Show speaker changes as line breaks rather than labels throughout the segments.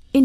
verscheen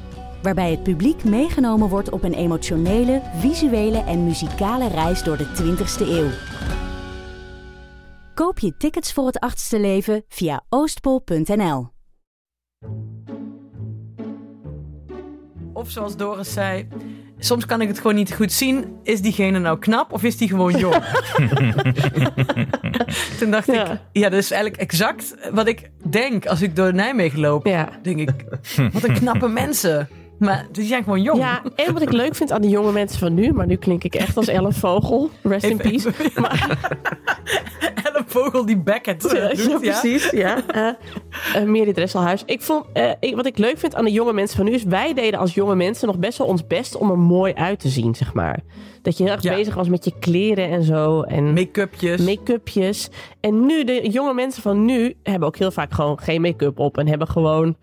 Waarbij het publiek meegenomen wordt op een emotionele, visuele en muzikale reis door de 20ste eeuw. Koop je tickets voor het achtste leven via oostpol.nl.
Of zoals Doris zei, soms kan ik het gewoon niet goed zien. Is diegene nou knap of is die gewoon jong? Toen dacht ik,
Ja.
ja, dat is eigenlijk exact wat ik denk als ik door Nijmegen loop.
Ja.
Denk ik, wat een knappe mensen. Maar die zijn gewoon jong.
Ja, en wat ik leuk vind aan de jonge mensen van nu, maar nu klink ik echt als Ellen Vogel. Rest in
Even-
peace.
En een vogel die Beckett eh, doet.
ja,
Ja,
precies. Ja. Eh eh, Mary Dresselhuis. Ik vond, eh, ik- wat ik leuk vind aan de jonge mensen van nu is... wij deden als jonge mensen nog best wel ons best om er mooi uit te zien, zeg maar. Dat je heel erg
Ja.
bezig was met je kleren en zo. En
Make-upjes.
make-upjes. En nu, de jonge mensen van nu hebben ook heel vaak gewoon geen make-up op. En hebben gewoon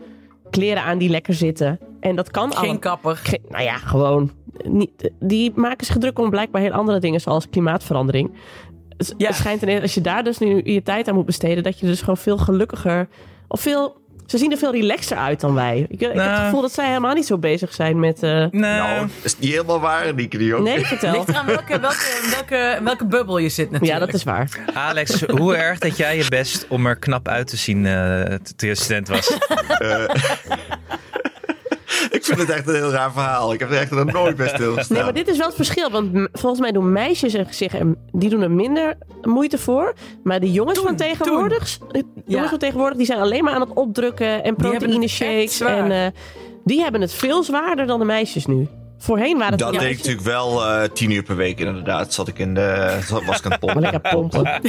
kleren aan die lekker zitten. En dat kan
geen
allemaal.
kapper.
Ge- nou ja, gewoon. eh, Niet, die maken zich druk om blijkbaar heel andere dingen, zoals klimaatverandering. S-
Ja.
Het schijnt ineens, als je daar dus nu je tijd aan moet besteden, dat je dus gewoon veel gelukkiger. Of veel. Ze zien er veel relaxer uit dan wij. Ik, ik heb het
Nou.
gevoel dat zij helemaal niet zo bezig zijn met. eh,
Nee.
Nou, dat is niet helemaal waar, Nieke de Jong.
nee, vertel.
Ligt eraan welke, welke, welke, welke bubbel je zit
Ja,
natuurlijk.
dat is waar.
Alex, hoe erg dat jij je best om er knap uit te zien eh, toen je student was.
Ik vind het echt een heel raar verhaal. Ik heb er echt nog nooit bij stilgestaan.
Nee, maar dit is wel het verschil. Want m- volgens mij doen meisjes er zich er- die doen er minder moeite voor. Maar de jongens
Toen,
van tegenwoordig, eh, jongens
Ja.
van tegenwoordig, die zijn alleen maar aan het opdrukken en
hebben het
proteïne
echt
shakes. En
zwaar.
eh, die hebben het veel zwaarder dan de meisjes nu. Voorheen waren het
Dat
de
deed ik
meisjes-
natuurlijk wel eh, tien uur per week inderdaad. Zat ik in de... Zat, was ik aan het pompen.
Maar lekker pompen.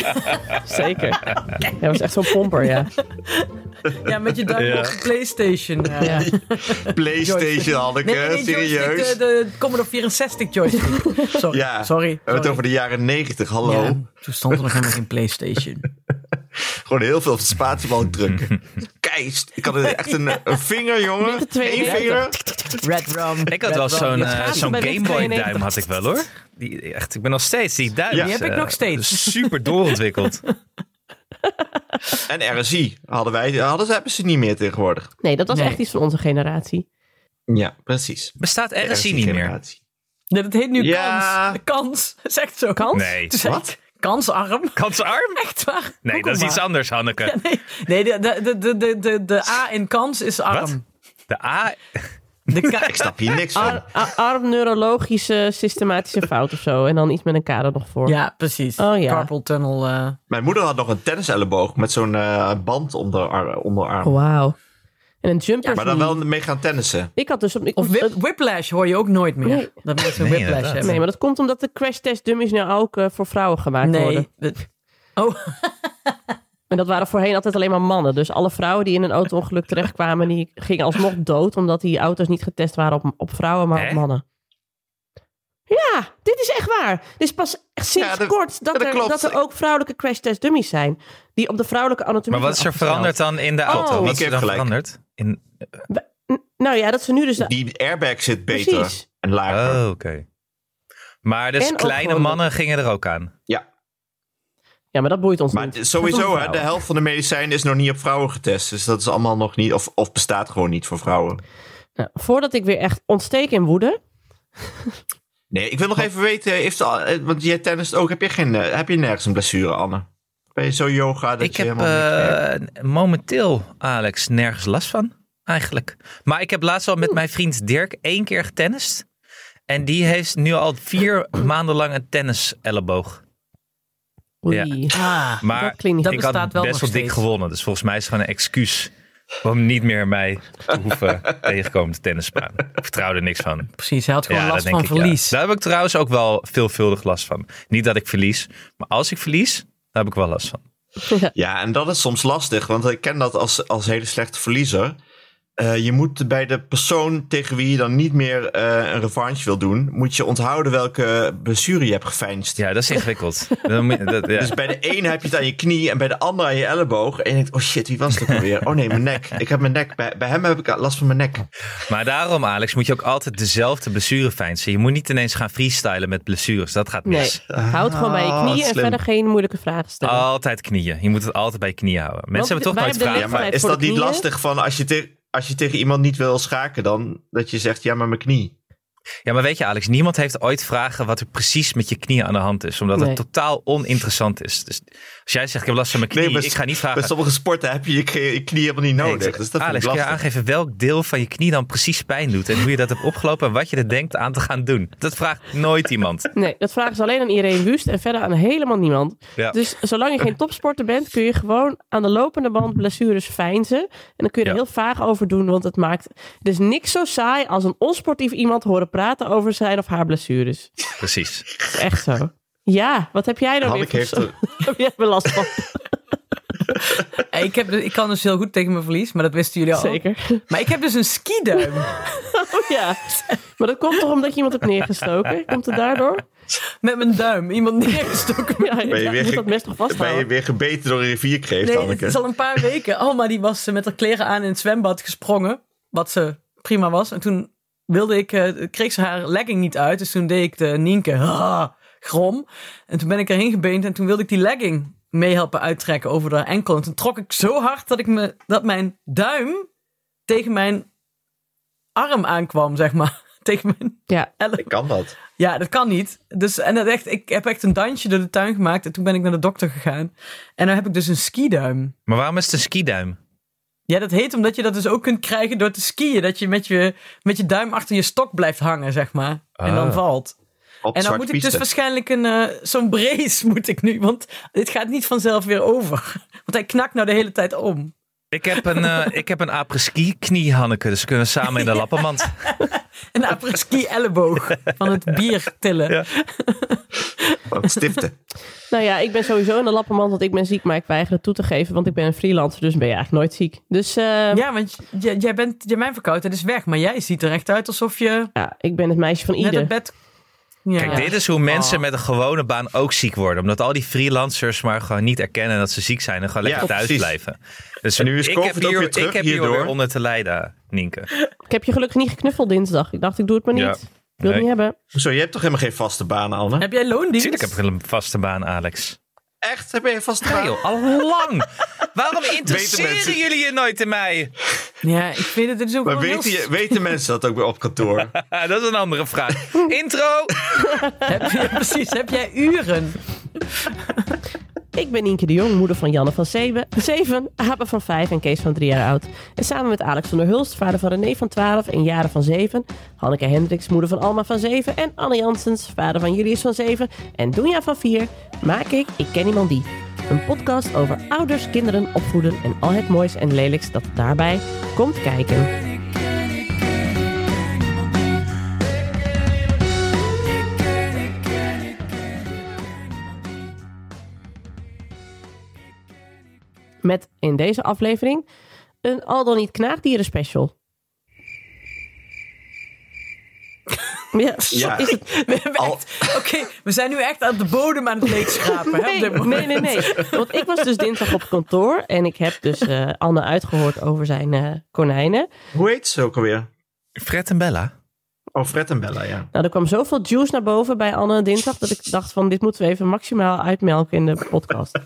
Zeker. Hij was echt zo'n pomper, ja.
Ja, met je dakloze Playstation. eh,
ja.
Playstation, Hanneke,
Nee, nee, nee,
Eh, serieus.
eh,
joystick, eh, De, de Commodore 64 joystick. Sorry.
Ja,
sorry.
we hebben het
sorry.
over de jaren negentig, hallo.
Ja, toen stond er nog helemaal geen Playstation.
Gewoon heel veel spatiebal drukken. Keist. Ik had er echt een, een vinger, jongen.
de twee
Eén
werken.
vinger.
Red Rum.
Ik had wel zo'n eh,
gaat
zo'n
bij
Game
de
Boy
92.
duim had ik wel hoor. Die, echt, ik ben nog steeds die duim.
Ja.
is,
Die
heb ik
eh,
nog steeds.
Super doorontwikkeld.
En RSI hadden wij. Hadden ze, hebben ze niet meer tegenwoordig.
Nee, dat was
Nee.
echt iets van onze generatie.
Ja, precies.
Bestaat
De
RSI niet meer?
RSI-generatie.
Nee, dat heet nu
Ja.
kans. Kans. Dat is echt zo. Kans?
Nee.
Wat?
Kansarm.
Kansarm?
Echt waar?
Nee,
Google
dat is iets
maar.
anders, Hanneke.
Nee, de, de, de, de, de, de A in kans is arm.
De A.
De K-
Ik snap hier niks van.
Ar- a- arm neurologische systematische fout of zo. En dan iets met een kader nog voor.
Ja, precies.
Oh, ja.
Carpal tunnel. eh.
Mijn moeder had nog een tenniselleboog met zo'n eh, band onder haar onderarm.
Oh,
Wauw. En een jumper.
Maar dan wel mee gaan tennissen.
Ik had dus op, ik,
Of
eh,
whip, whiplash hoor je ook nooit meer.
Nee.
Dat mensen
Nee,
whiplash
inderdaad.
hebben.
Nee, maar dat komt omdat de crash test dummies nu ook eh, voor vrouwen gemaakt worden.
nee. dat- Oh,
En dat waren voorheen altijd alleen maar mannen. Dus alle vrouwen die in een auto-ongeluk terechtkwamen, die gingen alsnog dood. Omdat die auto's niet getest waren op, op vrouwen, maar op
Hè?
mannen. Ja, dit is echt waar. Dit is pas echt sinds
Ja, dat-
kort dat,
ja, dat
er,
klopt.
dat er ook vrouwelijke crash test dummies zijn. Die op de vrouwelijke anatomie
Maar wat is
worden
er veranderd
afgesteld.
dan in de auto?
Oh.
wat is
Ik heb
er dan
gelijk.
veranderd? In...
Nou ja, dat ze nu dus... de-
Die airbag zit beter
Precies.
en lager.
Oh, oké. Maar dus
En ook
kleine
gewoon-
mannen gingen er ook aan.
Ja,
Ja, maar dat boeit ons
maar
niet.
het is sowieso, hè, de
Vrouwen.
helft van de medicijnen is nog niet op vrouwen getest. Dus dat is allemaal nog niet, of, of bestaat gewoon niet voor vrouwen.
Nou, voordat ik weer echt ontsteek in woede...
Nee, ik wil nog even weten, heeft, al- eh, want jij tennist ook, heb je, geen, eh, heb je nergens een blessure, Anne? Ben je zo yoga dat
ik
je
heb
helemaal niks merkt?
eh, momenteel, Alex, nergens last van. Eigenlijk. Maar ik heb laatst al met mijn vriend Dirk één keer getennist. En die heeft nu al vier maanden lang een tenniselleboog.
Oei.
Ja.
ah.
Maar
Dat klinkt niet
Dat
ik
bestaat
had
wel
best
nog
wel dik
steeds.
gewonnen. Dus volgens mij is het gewoon een excuus om niet meer mij te hoeven tegenkomen te tennisbaan. Ik vertrouw er niks van.
precies. Hij had gewoon
dat
last
denk
van
ik, ja.
verlies.
Daar heb ik trouwens ook wel veelvuldig last van. Niet dat ik verlies, maar als ik verlies, daar heb ik wel last van.
Ja, en dat is soms lastig, want ik ken dat als, als hele slechte verliezer. Eh, eh, je moet bij de persoon tegen wie je dan niet meer eh, een revanche wil doen, moet je onthouden welke blessure je hebt geveinsd.
Ja, dat is ingewikkeld. Dan moet je- dat- ja.
Dus bij de een heb je het aan je knie en bij de ander aan je elleboog. En je denkt, oh shit, wie was dat alweer? Oh nee, mijn nek. Ik heb mijn nek. Bij, bij hem heb ik last van mijn nek.
Maar daarom, Alex, moet je ook altijd dezelfde blessure feinsen. Je moet niet ineens gaan freestylen met blessures. Dat gaat
Nee,
mis.
houd gewoon bij je
Ah,
knieën en
slim. Ah,
verder geen moeilijke vragen stellen.
Altijd knieën. Je moet het altijd bij je knieën houden. Mensen
Want
hebben
wij
toch nooit
hebben de
Ja,
vragen.
maar is
voor
dat
de
niet
knieën?
lastig van als je, te- als je tegen iemand niet wil schaken, dan dat je zegt, ja, maar mijn knie.
Ja, maar weet je, Alex, niemand heeft ooit vragen wat er precies met je knieën aan de hand is. Omdat
Nee.
het totaal oninteressant is. Dus als jij zegt, ik heb last van mijn knie,
Nee, maar-
ik ga niet vragen.
Bij sommige sporten heb je je knie, je knie helemaal niet
Nee,
nodig. Dus dat
Ah. Alex,
vind
kun
ik
je
lastig.
aangeven welk deel van je knie dan precies pijn doet? En hoe je dat hebt opgelopen en wat je er denkt aan te gaan doen? Dat vraagt nooit iemand.
Nee, dat vragen ze alleen aan iedereen Wust en verder aan helemaal niemand.
Ja.
Dus zolang je geen topsporter bent, kun je gewoon aan de lopende band blessures feinzen. En dan kun je er
Ja.
heel vaag over doen, want het maakt dus niks zo saai als een onsportief iemand horen praten over zijn of haar blessures.
Precies.
Dat is echt zo. Ja, wat heb jij nou
Hanneke
weer
heeft
voor heb jij weer last van?
Hey, ik, heb, dus- ik kan dus heel goed tegen mijn verlies, maar dat wisten jullie al.
Zeker.
Maar ik heb dus een skiduim.
Oh ja. Maar dat komt toch omdat je iemand hebt neergestoken? Komt het daardoor?
Met mijn duim. Iemand neergestoken.
Ja, je,
Ben je, weer
moet
ge-
dat mes toch
ben je
vasthouden?
weer gebeten door een rivierkreeft,
Nee, het
Anneke?
is al een paar weken. Alma die was eh, met haar kleren aan in het zwembad gesprongen. Wat ze prima was. En toen wilde ik, eh, kreeg ze haar legging niet uit. Dus toen deed ik de Nienke ah, grom. En toen ben ik erheen gebeend. En toen wilde ik die legging meehelpen uittrekken over haar enkel. En toen trok ik zo hard dat, ik me, dat mijn duim tegen mijn arm aankwam, zeg maar. Tegen mijn
Ja.
elleboog.
Kan dat?
Ja, dat kan niet. Dus, en dat echt, ik heb echt een dansje door de tuin gemaakt. En toen ben ik naar de dokter gegaan. En dan heb ik dus een skiduim.
Maar waarom is het een skiduim?
Ja, dat heet omdat je dat dus ook kunt krijgen door te skiën. Dat je met je, met je duim achter je stok blijft hangen, zeg maar. En dan
Ah.
valt.
Op
en dan
zwarte
moet ik
piste.
dus waarschijnlijk een, eh, zo'n brace moet ik nu. Want dit gaat niet vanzelf weer over. Want hij knakt nou de hele tijd om.
Ik heb een, eh, ik heb een apres-ski knie, Hanneke. Dus we kunnen samen in de lappenmand.
Een apres-ski elleboog van het bier tillen.
Ja.
Van het stiften.
Nou ja, ik ben sowieso in de lappenmand, want ik ben ziek, maar ik weiger het toe te geven, want ik ben een freelancer, dus ben je eigenlijk nooit ziek. Dus eh, ja.
Ja, want j- jij bent, jij, mijn verkoudheid is weg. Maar jij ziet er echt uit alsof je
ik ben het meisje van
net
ieder.
het bed... Ja.
Kijk, dit is hoe mensen met een gewone baan ook ziek worden. Omdat al die freelancers maar gewoon niet erkennen dat ze ziek zijn. En gewoon lekker
Ja,
thuis
precies.
blijven. Dus
En nu is
ik
COVID
heb
ook
hier,
weer
ik
terug
heb hier weer
hierdoor.
onder te lijden, Nienke.
Ik heb je gelukkig niet geknuffeld dinsdag. Ik dacht, ik doe het maar niet.
Ja.
Ik wil het
Nee.
niet hebben.
Zo, je hebt toch helemaal geen vaste baan, Anne?
Heb jij loondienst?
Tuurlijk heb ik een vaste baan, Alex.
Echt? Heb je een vaste baan?
Nee, joh, al lang. Waarom
mensen.
interesseren jullie je nooit in mij?
Ja, ik vind het, dit is ook
Maar
wel
weten,
heel
je, weten mensen dat ook weer op kantoor?
Ah, dat is een andere vraag. Intro.
Heb je, precies, heb jij uren?
Ik ben Nienke de Jong, moeder van Janne van 7, 7 Abe van 5 en Kees van 3 jaar oud. En samen met Alex van der Hulst, vader van René van 12 en Jaren van 7. Hanneke Hendricks, moeder van Alma van 7. En Anne Janssens, vader van Julius van 7. En Doenja van 4. Maak ik Ik Ken Iemand Die. Een podcast over ouders, kinderen, opvoeden en al het moois en lelijks dat daarbij komt kijken. Met in deze aflevering een al dan niet knaagdieren special. Ja,
Ja.
is het
We hebben
Al-
echt- Oké, we zijn nu echt aan de bodem aan het leegschrapen. hè, op
Nee,
dit moment.
nee, nee, nee. Want ik was dus dinsdag op kantoor en ik heb dus eh, Anne uitgehoord over zijn eh, konijnen.
Hoe heet ze ook alweer?
Fred en Bella.
Oh, Fred en Bella, ja.
Nou, er kwam zoveel juice naar boven bij Anne dinsdag dat ik dacht van dit moeten we even maximaal uitmelken in de podcast.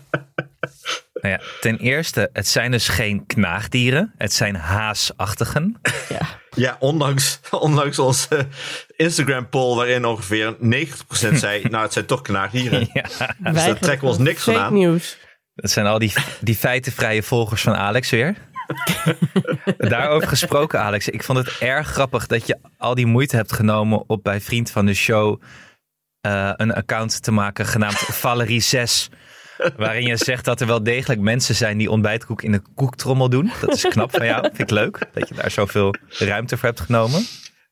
Nou ja, ten eerste, het zijn dus geen knaagdieren. Het zijn haasachtigen.
Ja.
Ja, ondanks, ondanks onze Instagram-poll waarin ongeveer 90% zei... nou, het zijn toch knaagdieren.
Ja,
Wij
trekken we ons niks van
fake
aan.
Nieuws.
dat zijn al die, die feitenvrije volgers van Alex weer. Daarover gesproken, Alex. Ik vond het erg grappig dat je al die moeite hebt genomen op bij Vriend van de Show eh, een account te maken genaamd Valerie 6. Waarin je zegt dat er wel degelijk mensen zijn die ontbijtkoek in een koektrommel doen. Dat is knap van jou. Vind ik leuk dat je daar zoveel ruimte voor hebt genomen.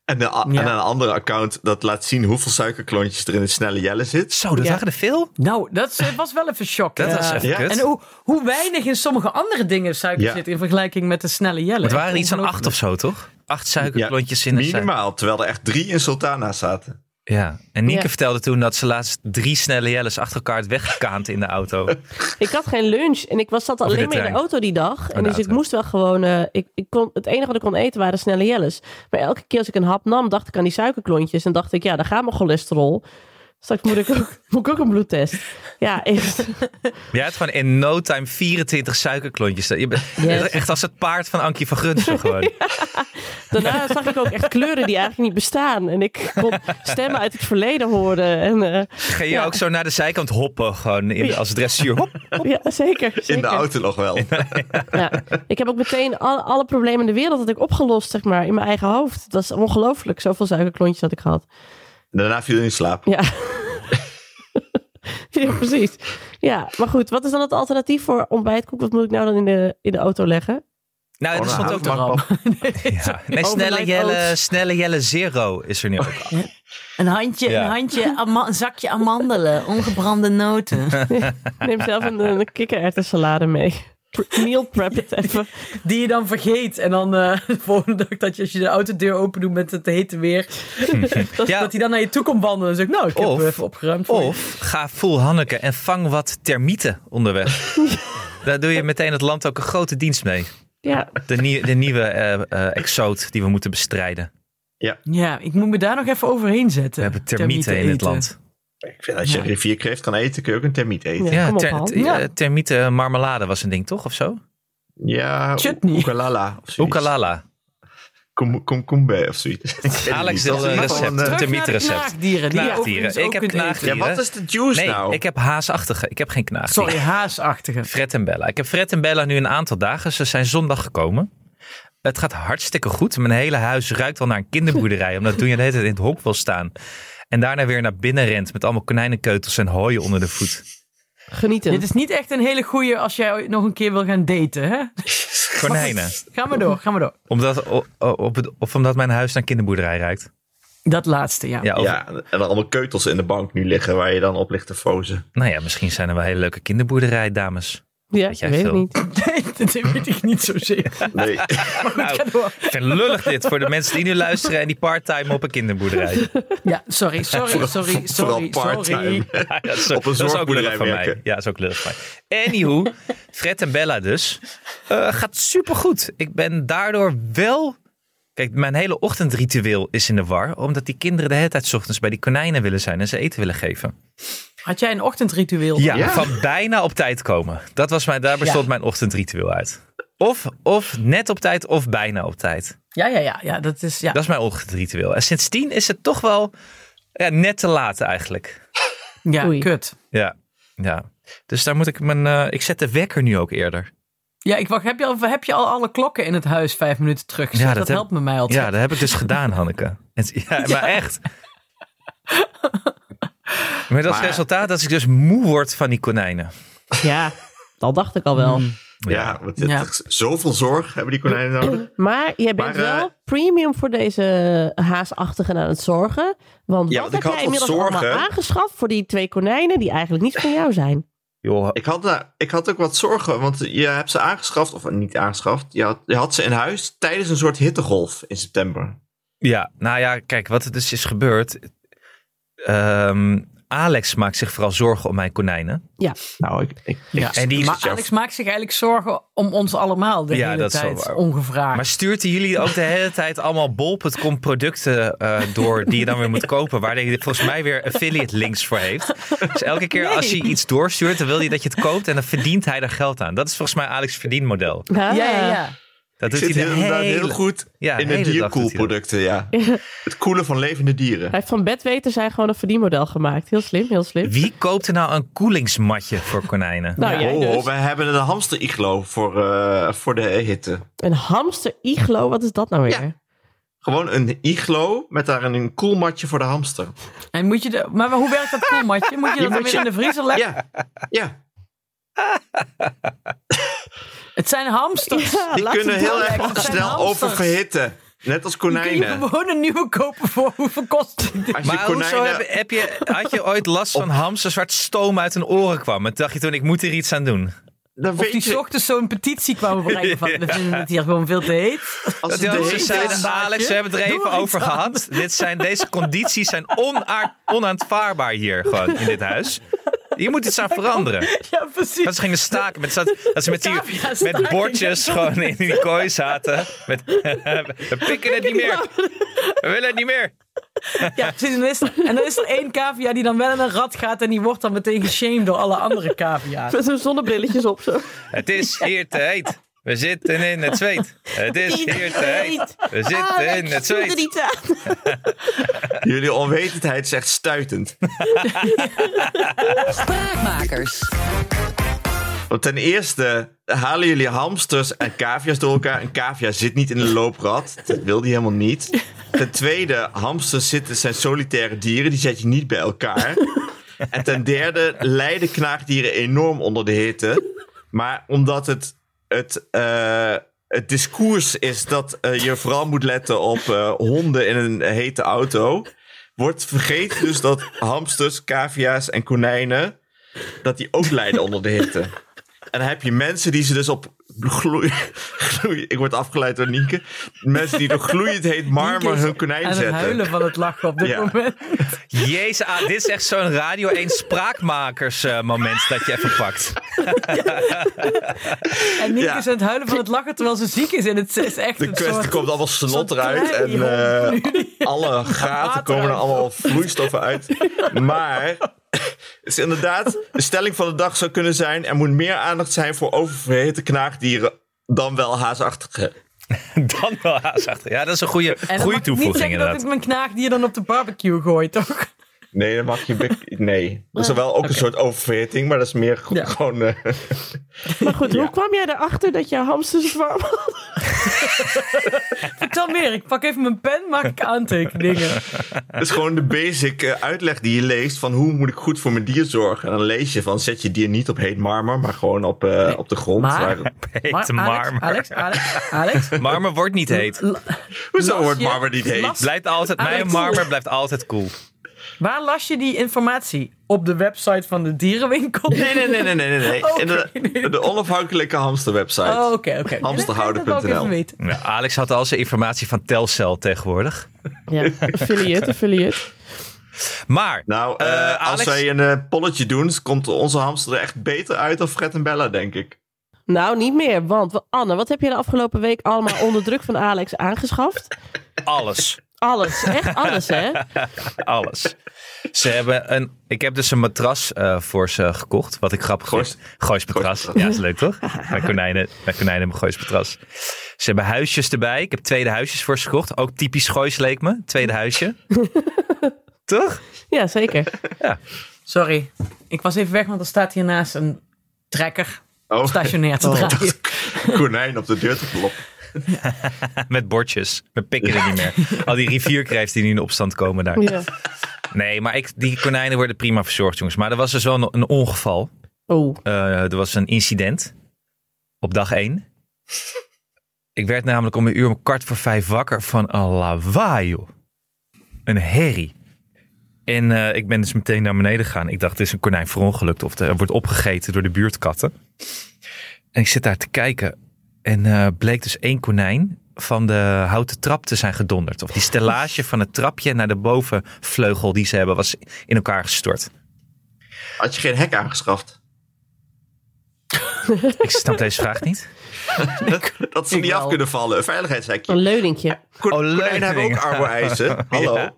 En, de, a-
Ja.
en een andere account dat laat zien hoeveel suikerklontjes er in de snelle Jelle zit.
Zo, dat
Ja.
waren er veel.
Nou, dat eh, was wel even shock.
Dat
Ja.
was even
Ja.
kut.
En hoe, hoe weinig in sommige andere dingen suiker
Ja.
zit in vergelijking met de snelle jelle.
het waren
Echt
iets van acht of
ongelooflijk.
zo, toch? Acht suikerklontjes in een suik-
Minimaal, terwijl er echt drie in Sultana zaten.
Ja. En Nienke
Ja.
vertelde toen dat ze laatst drie snelle jelles achter elkaar had weggekaand in de auto.
Ik had geen lunch en ik was, zat
in de
alleen maar in de
trein.
auto die dag.
de
En dus ik
auto.
moest wel gewoon... eh, ik, ik kon, het enige wat ik kon eten waren snelle jelles. Maar elke keer als ik een hap nam, dacht ik aan die suikerklontjes. En dacht ik, ja, daar gaat mijn cholesterol. Straks moet ik ook, moet ik ook een bloedtest. Ja, echt.
Jij had gewoon in no time 24 suikerklontjes. Je bent
Yes.
echt als het paard van Ankie van Gunsen gewoon.
Daarna zag ik ook echt kleuren die eigenlijk niet bestaan. En ik kon stemmen uit het verleden horen. En, eh,
Ging je
Ja.
ook zo naar de zijkant hoppen gewoon in, de- als dressuur. Hop.
ja, zeker.
In de
zeker.
auto nog wel.
Ja, ik heb ook meteen al- alle problemen in de wereld had ik opgelost, zeg maar, in mijn eigen hoofd. Dat is ongelooflijk. Zoveel zuikerklontjes had ik gehad.
Daarna viel hij in slaap.
Ja. ja, precies. Ja, maar goed. Wat is dan het alternatief voor ontbijtkoek? Wat moet ik nou dan in de, in de auto leggen?
Nou, dat
Oh,
stond
nou,
ook nog.
maar-
Ja. Nee, snelle
Overnight
jelle,
oats.
snelle jelle zero is er nu ook.
Een handje,
Ja.
een handje, ama- een zakje amandelen, ongebrande noten.
Neem zelf een, een kikkererwtensalade mee. Pre- Meal prep het even.
Die je dan vergeet. En dan eh, de volgende dag dat je, als je de autodeur open doet met het hete weer. dat,
Ja.
dat hij dan naar je toe komt wandelen. En zegt, nou, ik heb
Of-
hem even opgeruimd voor je.
Of ga full Hanneke en vang wat termieten onderweg. Daar doe je meteen het land ook een grote dienst mee.
Ja,
De, nie- de nieuwe eh eh, exoot die we moeten bestrijden.
Ja, ik moet me daar nog even overheen zetten.
We hebben termieten, in het
eten.
land.
Ik vind, als je
Ja.
een rivier kreeft kan eten, kun je ook een termiet eten.
Ja.
Ja,
Ja,
kom op,
ter-
Han.
eh,
Ja.
termieten marmelade was een ding, toch? Of zo?
Chutney.
Oekalala of zoiets.
Oekalala.
Kom- Komkombe of zoiets. Ik weet het
Alex
niet.
deelde een
Dat is
recept.
gewoon, eh,
Een
Terug naar de
termietrecept.
knaagdieren. Die je
Knaagdieren.
overigens
Ik
ook
heb
kunt eten.
knaagdieren.
Ja, wat is de juice
Nee,
nou?
ik heb haasachtige. Ik heb geen knaag.
Sorry, haasachtige.
Fred en Bella. Ik heb Fred en Bella nu een aantal dagen. Ze zijn zondag gekomen. Het gaat hartstikke goed. Mijn hele huis ruikt al naar een kinderboerderij. Omdat toen je de hele tijd in het hok wil staan. En daarna weer naar binnen rent. Met allemaal konijnenkeutels en hooi onder de voet.
genieten.
Dit is niet echt een hele goeie als jij nog een keer wil gaan daten, hè?
Konijnen.
Ga maar door, ga maar door.
Omdat, o- o- op het, of omdat mijn huis naar kinderboerderij ruikt.
Dat laatste, ja.
Ja, of-
Ja, en er allemaal keutels in de bank nu liggen waar je dan op ligt te fozen.
Nou ja, misschien zijn er wel hele leuke kinderboerderijdames.
Ja,
Weet
ik
jij
weet het
veel?
niet.
Nee, dat weet ik niet zozeer.
Nee,
Nou,
Ga door.
ik vind het lullig dit voor de mensen die nu luisteren en die part-time op een kinderboerderij.
Ja, sorry, sorry, sorry,
vooral
sorry, sorry.
part-time.
Ja, dat is,
Op een
dat is ook lullig
zorgboerderij
van mij.
werken.
Ja, dat is ook lullig van mij. Anywho, Fred en Bella dus. eh, gaat supergoed. Ik ben daardoor wel... Kijk, mijn hele ochtendritueel is in de war. Omdat die kinderen de hele tijd 's ochtends bij die konijnen willen zijn en ze eten willen geven.
Had jij een ochtendritueel?
Ja,
Ja.
van bijna op tijd komen. Dat was mijn, daar bestond
Ja.
mijn ochtendritueel uit. Of, of net op tijd of bijna op tijd.
Ja, ja, ja, ja dat is... Ja.
Dat is mijn ochtendritueel. En sindsdien is het toch wel ja, net te laat eigenlijk.
Ja,
Oei.
kut.
Ja, ja. Dus daar moet ik mijn. eh, ik zet de wekker nu ook eerder.
Ja, ik wacht. Heb je, al, heb je al alle klokken in het huis vijf minuten terug?
Ja,
dat
dat heb-
helpt me mij altijd.
Ja, dat heb ik dus gedaan, Hanneke. En- Ja, maar echt. Met als
Maar-
resultaat dat ik dus moe word van die konijnen.
Ja, dat dacht ik al wel.
Mm.
ja, want het-
Ja.
zoveel zorg hebben die konijnen nodig.
Maar jij bent
Maar, eh,
wel premium voor deze haasachtigen aan het zorgen. Want
Ja,
wat heb
want ik had
jij
wat
inmiddels
zorgen.
allemaal aangeschaft voor die twee konijnen die eigenlijk niet van jou zijn?
Joh,
Ik had, nou, ik had ook wat zorgen, want je hebt ze aangeschaft, of niet aangeschaft, je had, je had ze in huis tijdens een soort hittegolf in september.
Ja, nou ja, kijk, wat er dus is gebeurd. ehm, Alex maakt zich vooral zorgen om mijn konijnen.
Nou, ik, ik,
Ja.
En die-
maar Alex maakt zich eigenlijk zorgen om ons allemaal de
Ja,
hele
dat is wel
tijd
waar.
ongevraagd.
Maar stuurt hij jullie ook de hele tijd allemaal bol.com producten eh, door die je dan weer moet kopen, waar hij volgens mij weer affiliate links voor heeft. Dus elke keer als hij iets doorstuurt, dan wil hij dat je het koopt en dan verdient hij er geld aan. Dat is volgens mij Alex
Ah.
verdienmodel.
Ja, ja, ja.
Dat
ik
doet
zit
hij de
inderdaad
hele-
heel goed
ja,
in de
hele dag doet hij dat.
dierkoelproducten, ja. Het koelen van levende dieren.
Hij heeft van bedweten zijn gewoon een verdienmodel gemaakt. Heel slim, heel slim.
Wie koopt er nou een koelingsmatje voor konijnen?
Nou, jij
Oh,
dus.
we hebben een hamster-iglo voor, eh, voor de hitte.
Een hamster iglo, wat is dat nou weer?
Ja. Gewoon een iglo met daar een koelmatje voor de hamster.
En moet je de, maar hoe werkt dat koelmatje? Moet je dat dan weer in de vriezer leggen?
Ja, ja.
Het zijn hamsters.
Ja,
die
laat
kunnen
het
heel
dan
erg
Ah,
lekker.
Het zijn
snel
hamsters.
oververhitten. Net als
Kun je
konijnen.
gewoon een nieuwe kopen voor hoeveel kost die?
Als je
Maar hoezo heb,
konijnen...
heb je, had je ooit last van hamsters waar het stoom uit hun oren kwam? En dacht je toen, ik moet hier iets aan doen.
Dan
Of
weet
die
je,
ochtends zo'n petitie kwamen bereiken van we vinden het hier gewoon veel te heet.
als
Dat
het de
ze
hele
zeiden,
tijd-
Alex, we hebben het er
Doe
even
er iets
over gehad. Dit zijn, deze condities zijn onaar- onaanvaardbaar hier gewoon in dit huis. Hier moet iets aan veranderen.
Ja, precies.
Dat ze gingen staken. Met, dat, dat ze met, die,
Cavia
met
staking.
bordjes gewoon in die kooi zaten. Met, we pikken het niet meer. We willen het niet meer.
Ja, precies. En dan, is er, en dan is er één cavia die dan wel in een rat gaat en die wordt dan meteen geshamed door alle andere cavia's.
Met zo'n zonnebrilletjes op zo.
Het is hier te heet. We zitten in het zweet. Het is hier te heet.
Ah,
We zitten in het
Doe er
zweet.
niet aan.
Jullie onwetendheid is echt stuitend.
Spraakmakers.
Want ten eerste halen jullie hamsters en cavia's door elkaar. Een cavia zit niet in een looprad. Dat wil die helemaal niet. Ten tweede, hamsters zitten, zijn solitaire dieren. Die zet je niet bij elkaar. En ten derde, lijden knaagdieren enorm onder de hitte. Maar omdat het, het, eh, het discours is dat eh, je vooral moet letten op eh, honden in een hete auto... wordt vergeten dus dat hamsters, cavia's en konijnen... dat die ook lijden onder de hitte. En dan heb je mensen die ze dus op gloei... gloei ik word afgeleid door Nienke. Mensen die door gloeiend heet marmer hun konijn
En het
zetten.
huilen van het lachen op dit
Ja.
moment.
Jezus, ah, dit is echt zo'n Radio 1 spraakmakers eh, moment dat je even pakt.
En Nienke
Ja.
is aan het huilen van het lachen terwijl ze ziek is. En het is echt
De
een
kwestie
soort...
komt allemaal snot
soort
eruit en
draaihond
eh, alle gaten komen er
uit.
allemaal vloeistoffen uit. Maar het is inderdaad, de stelling van de dag zou kunnen zijn: er moet meer aandacht zijn voor oververhitte knaagdieren dan wel haasachtige.
Dan wel haasachtig. Ja, dat is een goede,
En dan mag
goede
ik niet
toevoeging
zeggen dat ik
inderdaad.
mijn knaagdier dan op de barbecue gooi, toch?
Nee, dan mag je. bek- Nee. Dat is wel ook een soort oververhitting, maar dat is meer go-
Ja.
gewoon. eh,
Maar goed,
Ja.
hoe kwam jij erachter dat je hamsters het warm hadden?
Vertel meer. Ik pak even mijn pen, maak ik aantekeningen.
Dat is gewoon de basic eh, uitleg die je leest van hoe moet ik goed voor mijn dier zorgen. En dan lees je van zet je dier niet op heet marmer, maar gewoon op, eh, op de grond.
maar-
waar-
Heet
Alex,
marmer.
Alex, Alex, Alex.
Marmer wordt niet heet.
Hoezo wordt
je-
marmer niet heet?
las-
Blijft altijd, mijn
Alex.
marmer blijft altijd cool.
Waar las je die informatie? Op de website van de dierenwinkel?
Nee, nee, nee, nee, nee. nee, nee.
Oké.
In de, de onafhankelijke hamsterwebsite.
Oh, oké, oké.
Hamsterhouden.nl.
Dat wil ik even weten.
Nou, Alex had al zijn informatie van Telcel tegenwoordig.
Ja, affiliate, affiliate.
Maar,
Nou,
eh,
eh,
Alex,
als wij een eh, polletje doen, komt onze hamster er echt beter uit dan Fred en Bella, denk ik.
Nou, niet meer. Want wa- Anne, wat heb je de afgelopen week allemaal onder druk van Alex aangeschaft?
alles.
Alles. Echt alles, hè?
Alles. Ze hebben een, ik heb dus een matras eh, voor ze gekocht. Wat ik grappig
Goois-
vind. Goois matras.
matras.
Ja, is leuk toch? Mijn konijnen, mijn konijnen hebben goois matras. Ze hebben huisjes erbij. Ik heb tweede huisjes voor ze gekocht. Ook typisch goois leek me. Tweede huisje. toch?
Ja, zeker.
Sorry. Ik was even weg, want er staat hiernaast een trekker
Oh,
stationair te
ik
draaien.
dacht, konijn op de deur te kloppen.
Met bordjes. We pikken er niet meer. Al die rivierkrijfs die nu in opstand komen daar.
Ja.
Nee, maar ik, die konijnen worden prima verzorgd, jongens. Maar er was dus wel een, een ongeval.
Oh,
Eh, er was een incident op dag 1. Ik werd namelijk om een uur om kwart voor vijf wakker van een lawaai, joh. Een herrie. En eh, ik ben dus meteen naar beneden gegaan. Ik dacht, dit is een konijn verongelukt of er wordt opgegeten door de buurtkatten. En ik zit daar te kijken. En eh, bleek dus één konijn van de houten trap te zijn gedonderd. Of die stellage van het trapje naar de bovenvleugel die ze hebben was in elkaar gestort.
Had je geen hek aangeschaft?
Ik snap deze vraag niet.
Dat ze
Ik
niet af
wel.
kunnen vallen. Een veiligheidshekje.
een leuningje.
Kon,
Oh, leuk
konijnen hebben ook
ding.
arbo-eisen. Hallo.
Ja.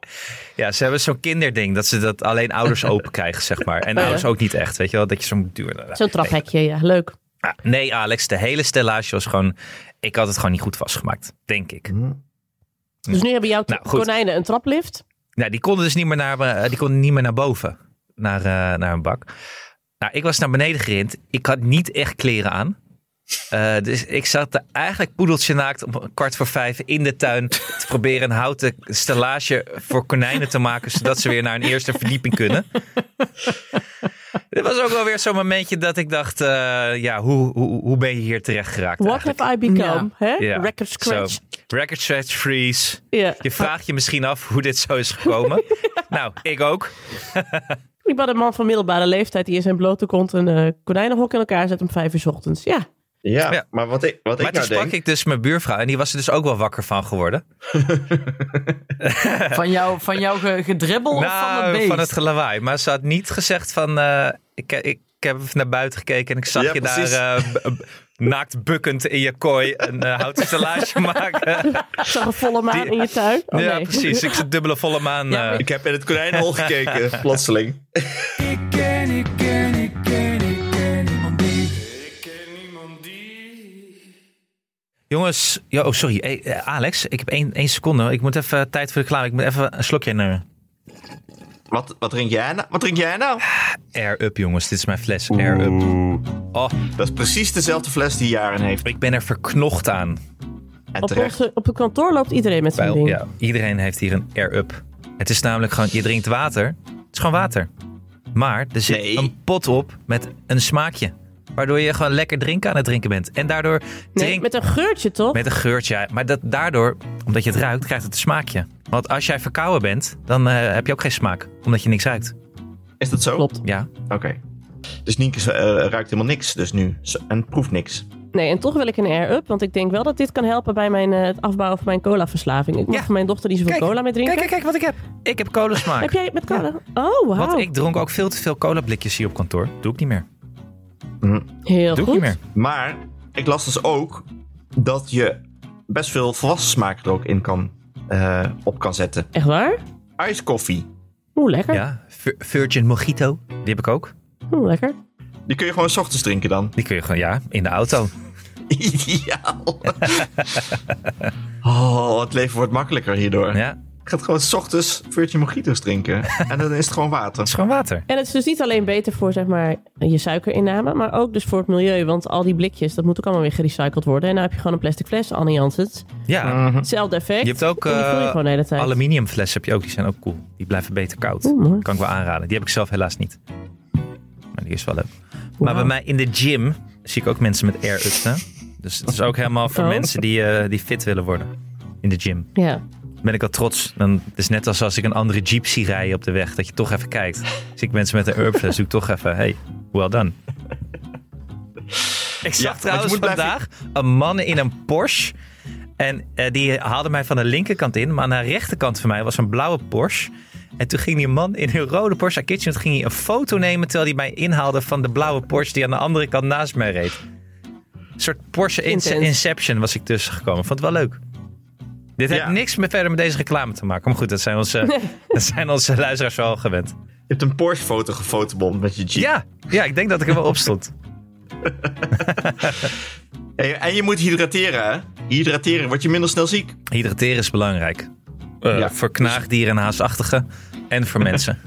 Ja, ze hebben zo'n kinderding dat ze dat alleen ouders open krijgen, zeg maar. En
ja.
ouders ook niet echt, weet je wel? Dat je zo'n duur.
Zo'n traphekje, ja. Leuk.
Ah, Nee, Alex, de hele stellage was gewoon. Ik had het gewoon niet goed vastgemaakt, denk ik.
Dus nu hebben jouw t-
Nou, goed.
konijnen een traplift.
Nou, die konden dus niet meer naar, eh, die konden niet meer naar boven, naar, eh, naar een bak. Nou, ik was naar beneden gerend. Ik had niet echt kleren aan. Eh, dus ik zat er eigenlijk poedeltje naakt om kwart voor vijf in de tuin te proberen een houten stellage voor konijnen te maken, zodat ze weer naar een eerste verdieping kunnen. Dit was ook wel weer zo'n momentje dat ik dacht, eh, ja, hoe, hoe, hoe ben je hier terecht geraakt
What
eigenlijk?
have I become? Hè?
Ja.
Record scratch.
Zo, record scratch freeze.
Ja.
Je vraagt je misschien af hoe dit zo is gekomen. Nou, ik ook.
Ik had een man van middelbare leeftijd die in zijn blote kont een eh, konijnenhok in elkaar zet om vijf uur 's ochtends. Ja,
Ja,
Ja.
maar wat ik, wat
Maar
ik
toen
nou
sprak
denk...
ik dus mijn buurvrouw en die was er dus ook wel wakker van geworden.
Van, jou, van jouw ge- gedribbel of van het
nou,
beest?
van het lawaai. Maar ze had niet gezegd van, eh, ik, ik, ik heb even naar buiten gekeken en ik zag
Ja,
je
precies.
daar eh, b- b- naakt bukkend in je kooi een eh, houten stellage maken.
ik zag een volle maan
Die-
in je tuin. Oh,
ja,
nee.
precies. Ik zit dubbele volle maan.
Ja, maar
eh,
Ik heb in het konijnenhol gekeken, plotseling.
Jongens, ja, oh sorry. Hey, eh, Alex, ik heb één, één seconde. Ik moet even tijd voor de reclame. Ik moet even een slokje nemen.
Wat, wat drink jij nou? Wat drink jij nou?
Air up, jongens. Dit is mijn fles. Air up. Oh,
Dat is precies dezelfde fles die Jaren heeft.
ik ben er verknocht aan.
En
Op,
terecht.
onze- op het kantoor loopt iedereen met zijn
Bijl,
ding.
ja. Iedereen heeft hier een air up. Het is namelijk gewoon, je drinkt water. Het is gewoon water. Maar er zit
Nee.
een pot op met een smaakje. Waardoor je gewoon lekker drinken aan het drinken bent. En daardoor
Nee,
drink
met een geurtje toch?
met een geurtje. ja. Maar dat, daardoor, omdat je het ruikt, krijgt het een smaakje. Want als jij verkouden bent, dan eh, heb je ook geen smaak. Omdat je niks ruikt.
Is dat zo?
Klopt.
Ja.
Oké. Dus Nienke eh, ruikt helemaal niks dus nu. Ze- En proeft niks.
Nee, en toch wil ik een air-up, want ik denk wel dat dit kan helpen bij mijn, eh, het afbouwen van mijn colaverslaving. Ik mag
Ja.
voor mijn dochter niet zoveel cola meer drinken.
kijk, wat ik heb. Ik heb kolensmaak.
Heb jij met cola? Oh, wauw.
Want ik dronk ook veel te veel colablikjes hier op kantoor. Doe ik niet meer.
Heel
Doe ik
goed.
niet meer.
Maar ik las dus ook dat je best veel volwassen smaak er ook in kan, eh, op kan zetten.
Echt waar?
Ijskoffie.
Oeh, lekker.
Ja, Vir- Virgin Mojito. Die heb ik ook.
Oeh, lekker.
Die kun je gewoon 's ochtends drinken dan.
Die kun je gewoon, ja, in de auto.
Ideaal. Oh, het leven wordt makkelijker hierdoor.
Ja, het
Ik ga het gewoon 's ochtends Virgin Mojito's drinken. En dan is het gewoon water.
is gewoon water.
En het is dus niet alleen beter voor zeg maar, je suikerinname, maar ook dus voor het milieu. Want al die blikjes, dat moet ook allemaal weer gerecycled worden. En dan heb je gewoon een plastic fles, Anne Janssens.
Ja,
Hetzelfde effect.
Mhm. je hebt ook
En die Mhm. voel je
eh,
gewoon de hele tijd.
aluminiumflessen. Heb je ook, die zijn ook cool. Die blijven beter koud.
Oeh, mooi.
kan ik wel aanraden. Die heb ik zelf helaas niet. Maar die is wel leuk. Maar
Wauw.
bij mij in de gym zie ik ook mensen met air ups. Hè? Dus het is ook helemaal voor
Oh.
mensen die, eh, die fit willen worden. In de gym.
Ja.
ben ik al trots. Dan het is net als als ik een andere jeep zie rijden op de weg. Dat je toch even kijkt. Zie ik mensen met een Urbfles, doe ik toch even. Hey, well done.
Ja,
Ik zag
want je
trouwens
moet blijven-
vandaag een man in een Porsche. En eh, die haalde mij van de linkerkant in. Maar aan de rechterkant van mij was een blauwe Porsche. En toen ging die man in een rode Porsche naar Kitchen. Toen ging hij een foto nemen terwijl hij mij inhaalde van de blauwe Porsche die aan de andere kant naast mij reed. Een soort Porsche Ince-
Intens.
Inception was ik tussengekomen. Vond het wel leuk. Dit
Ja.
heeft niks meer verder met deze reclame te maken. Maar goed, dat zijn onze, dat zijn onze luisteraars wel gewend.
Je hebt een Porsche-foto gefotobomd met je Jeep.
Ja, ja, ik denk dat ik er wel op stond.
En, en je moet hydrateren, hè? Hydrateren, word je minder snel ziek.
Hydrateren is belangrijk. Eh,
Ja.
Voor knaagdieren en haasachtigen. En voor mensen.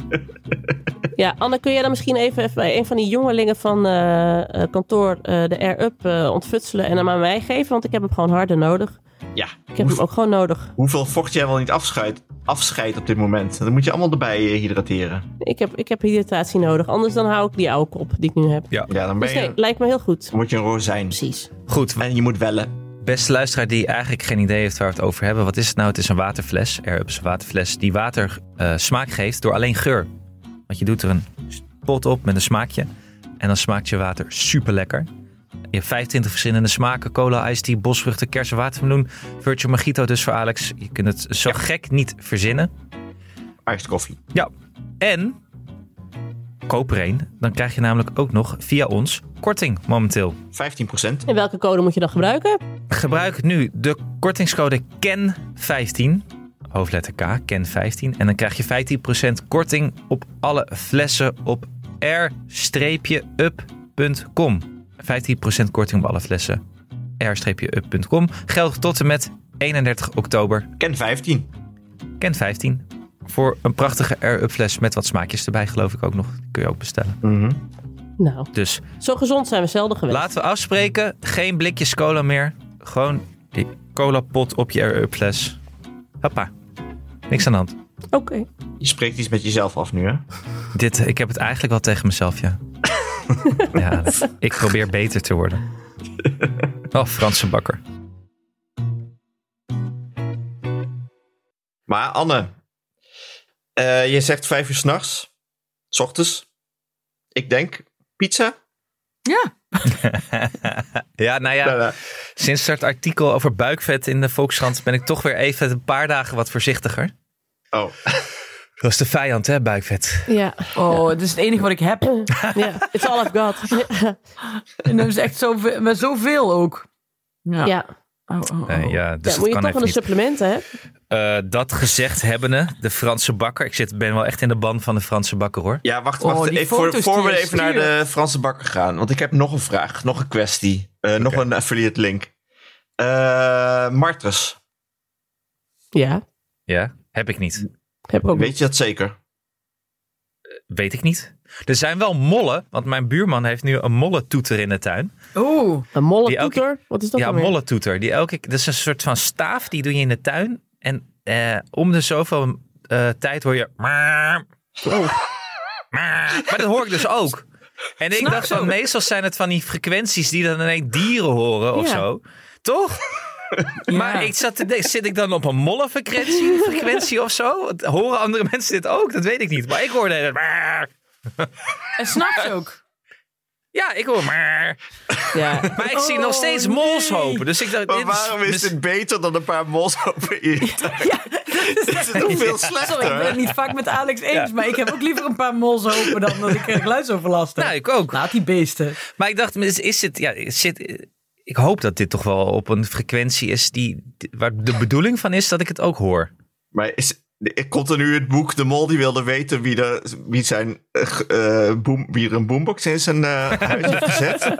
ja, Anne, kun jij dan misschien even, even bij een van die jongelingen van eh, eh, kantoor eh, de air-up eh, ontfutselen en hem aan mij geven? Want ik heb hem gewoon harder nodig.
Ja.
Ik heb hem ook gewoon nodig.
Hoeveel vocht jij wel niet afscheidt, afscheidt op dit moment? Dat moet je allemaal erbij eh, hydrateren.
Ik heb, ik heb hydratatie nodig, anders dan hou ik die oude kop die ik nu heb.
Ja, dan ben
Dus
je,
nee, lijkt me heel goed.
dan word je een rozijn.
Precies.
Goed,
En je moet wellen.
Beste luisteraar die eigenlijk geen idee heeft waar we het over hebben. Wat is het nou? Het is een waterfles. Er is een waterfles die water eh, smaak geeft door alleen geur. Want je doet er een pot op met een smaakje. En dan smaakt je water super lekker. Je hebt 25 verschillende smaken. Cola, iced tea, bosvruchten, kersen, watermeloen. Virtual Mojito dus voor Alex. Je kunt het zo gek niet verzinnen.
Iced koffie.
Ja. En koop er een. Dan krijg je namelijk ook nog via ons korting momenteel.
15%.
En welke code moet je dan gebruiken?
Gebruik nu de kortingscode KEN15, hoofdletter K, KEN15. En dan krijg je 15% korting op alle flessen op r-up.com. 15% korting op alle flessen r-up.com. Geldt tot en met 31 oktober
Ken 15.
KEN15. Voor een prachtige r-up fles met wat smaakjes erbij geloof ik ook nog. Die kun je ook bestellen.
Nou,
Dus
zo gezond zijn we zelden geweest.
Laten we afspreken, geen blikjes cola meer. Gewoon die cola pot op je air-up fles. Hoppa. Niks aan de hand.
Oké.
Je spreekt iets met jezelf af nu, hè?
Dit, ik heb het eigenlijk wel tegen mezelf, ja. Ja, ik probeer beter te worden. Oh, Franse bakker.
Maar Anne, eh, je zegt vijf uur s'nachts, s ochtends. Ik denk pizza.
Ja,
Ja, nou ja,
Nou, nou,
sinds dat artikel over buikvet in de Volkskrant ben ik toch weer even een paar dagen wat voorzichtiger.
Oh,
Dat is de vijand, hè, buikvet.
Ja,
oh, het is het enige wat ik heb.
ja. It's all I've got.
En dat is echt zoveel, maar zoveel ook. Ja.
Ja,
Oh, oh, oh.
Nee, ja, dus
Ja,
dat
moet je
kan
toch
even
van een
niet.
supplement, hè?
Eh, dat gezegd hebbende, de Franse bakker. Ik zit, ben wel echt in de ban van de Franse bakker, hoor.
ja, wacht,
Oh,
wacht.
die
even, voor,
foto's
voor
die
we
je
even naar de
stuurt.
Franse bakker gaan. Want ik heb nog een vraag, nog een kwestie. eh, Nog een affiliate link. Eh Martens,
Ja,
Ja, heb ik niet.
heb ik ook.
weet je dat zeker?
Weet ik niet. Er zijn wel mollen, want mijn buurman heeft nu een mollentoeter in de tuin.
Oeh,
Een
Die elke-
mollentoeter? Wat is dat
ja,
dan weer?
mollentoeter. Die elke, dat is een soort van staaf, die doe je in de tuin. En eh, om de zoveel eh, tijd hoor je...
Oh.
Maar dat hoor ik dus ook. En ik
S'nachts
dacht van,
ook.
meestal zijn het van die frequenties die dan ineens dieren horen of
Ja.
zo. Toch? Maar ik zat te denken, zit ik dan op een mollenfrequentie frequentie of zo? Horen andere mensen dit ook? Dat weet ik niet. Maar ik hoorde... het.
en s'nachts ook.
Ja, ik hoor...
Ja.
Maar ik zie nog steeds
Oh, nee.
molshopen. Dus ik dacht,
Maar
dit
waarom is
mis-
dit beter dan een paar molshopen in je tuin? Dit is
Sorry,
toch veel
ik ben het
slechter?
niet vaak met Alex eens, maar ik heb ook liever een paar mols open dan dat ik eh, geluidsoverlast heb.
Nou, ik ook.
Laat die beesten.
Maar ik dacht, is, is het, ja, zit, ik hoop dat dit toch wel op een frequentie is die, waar de bedoeling van is dat ik het ook hoor.
Maar is, komt er nu het boek De Mol die wilde weten wie, er wie, zijn, eh, g- eh, boom, wie er een boombox in zijn eh, huis heeft gezet?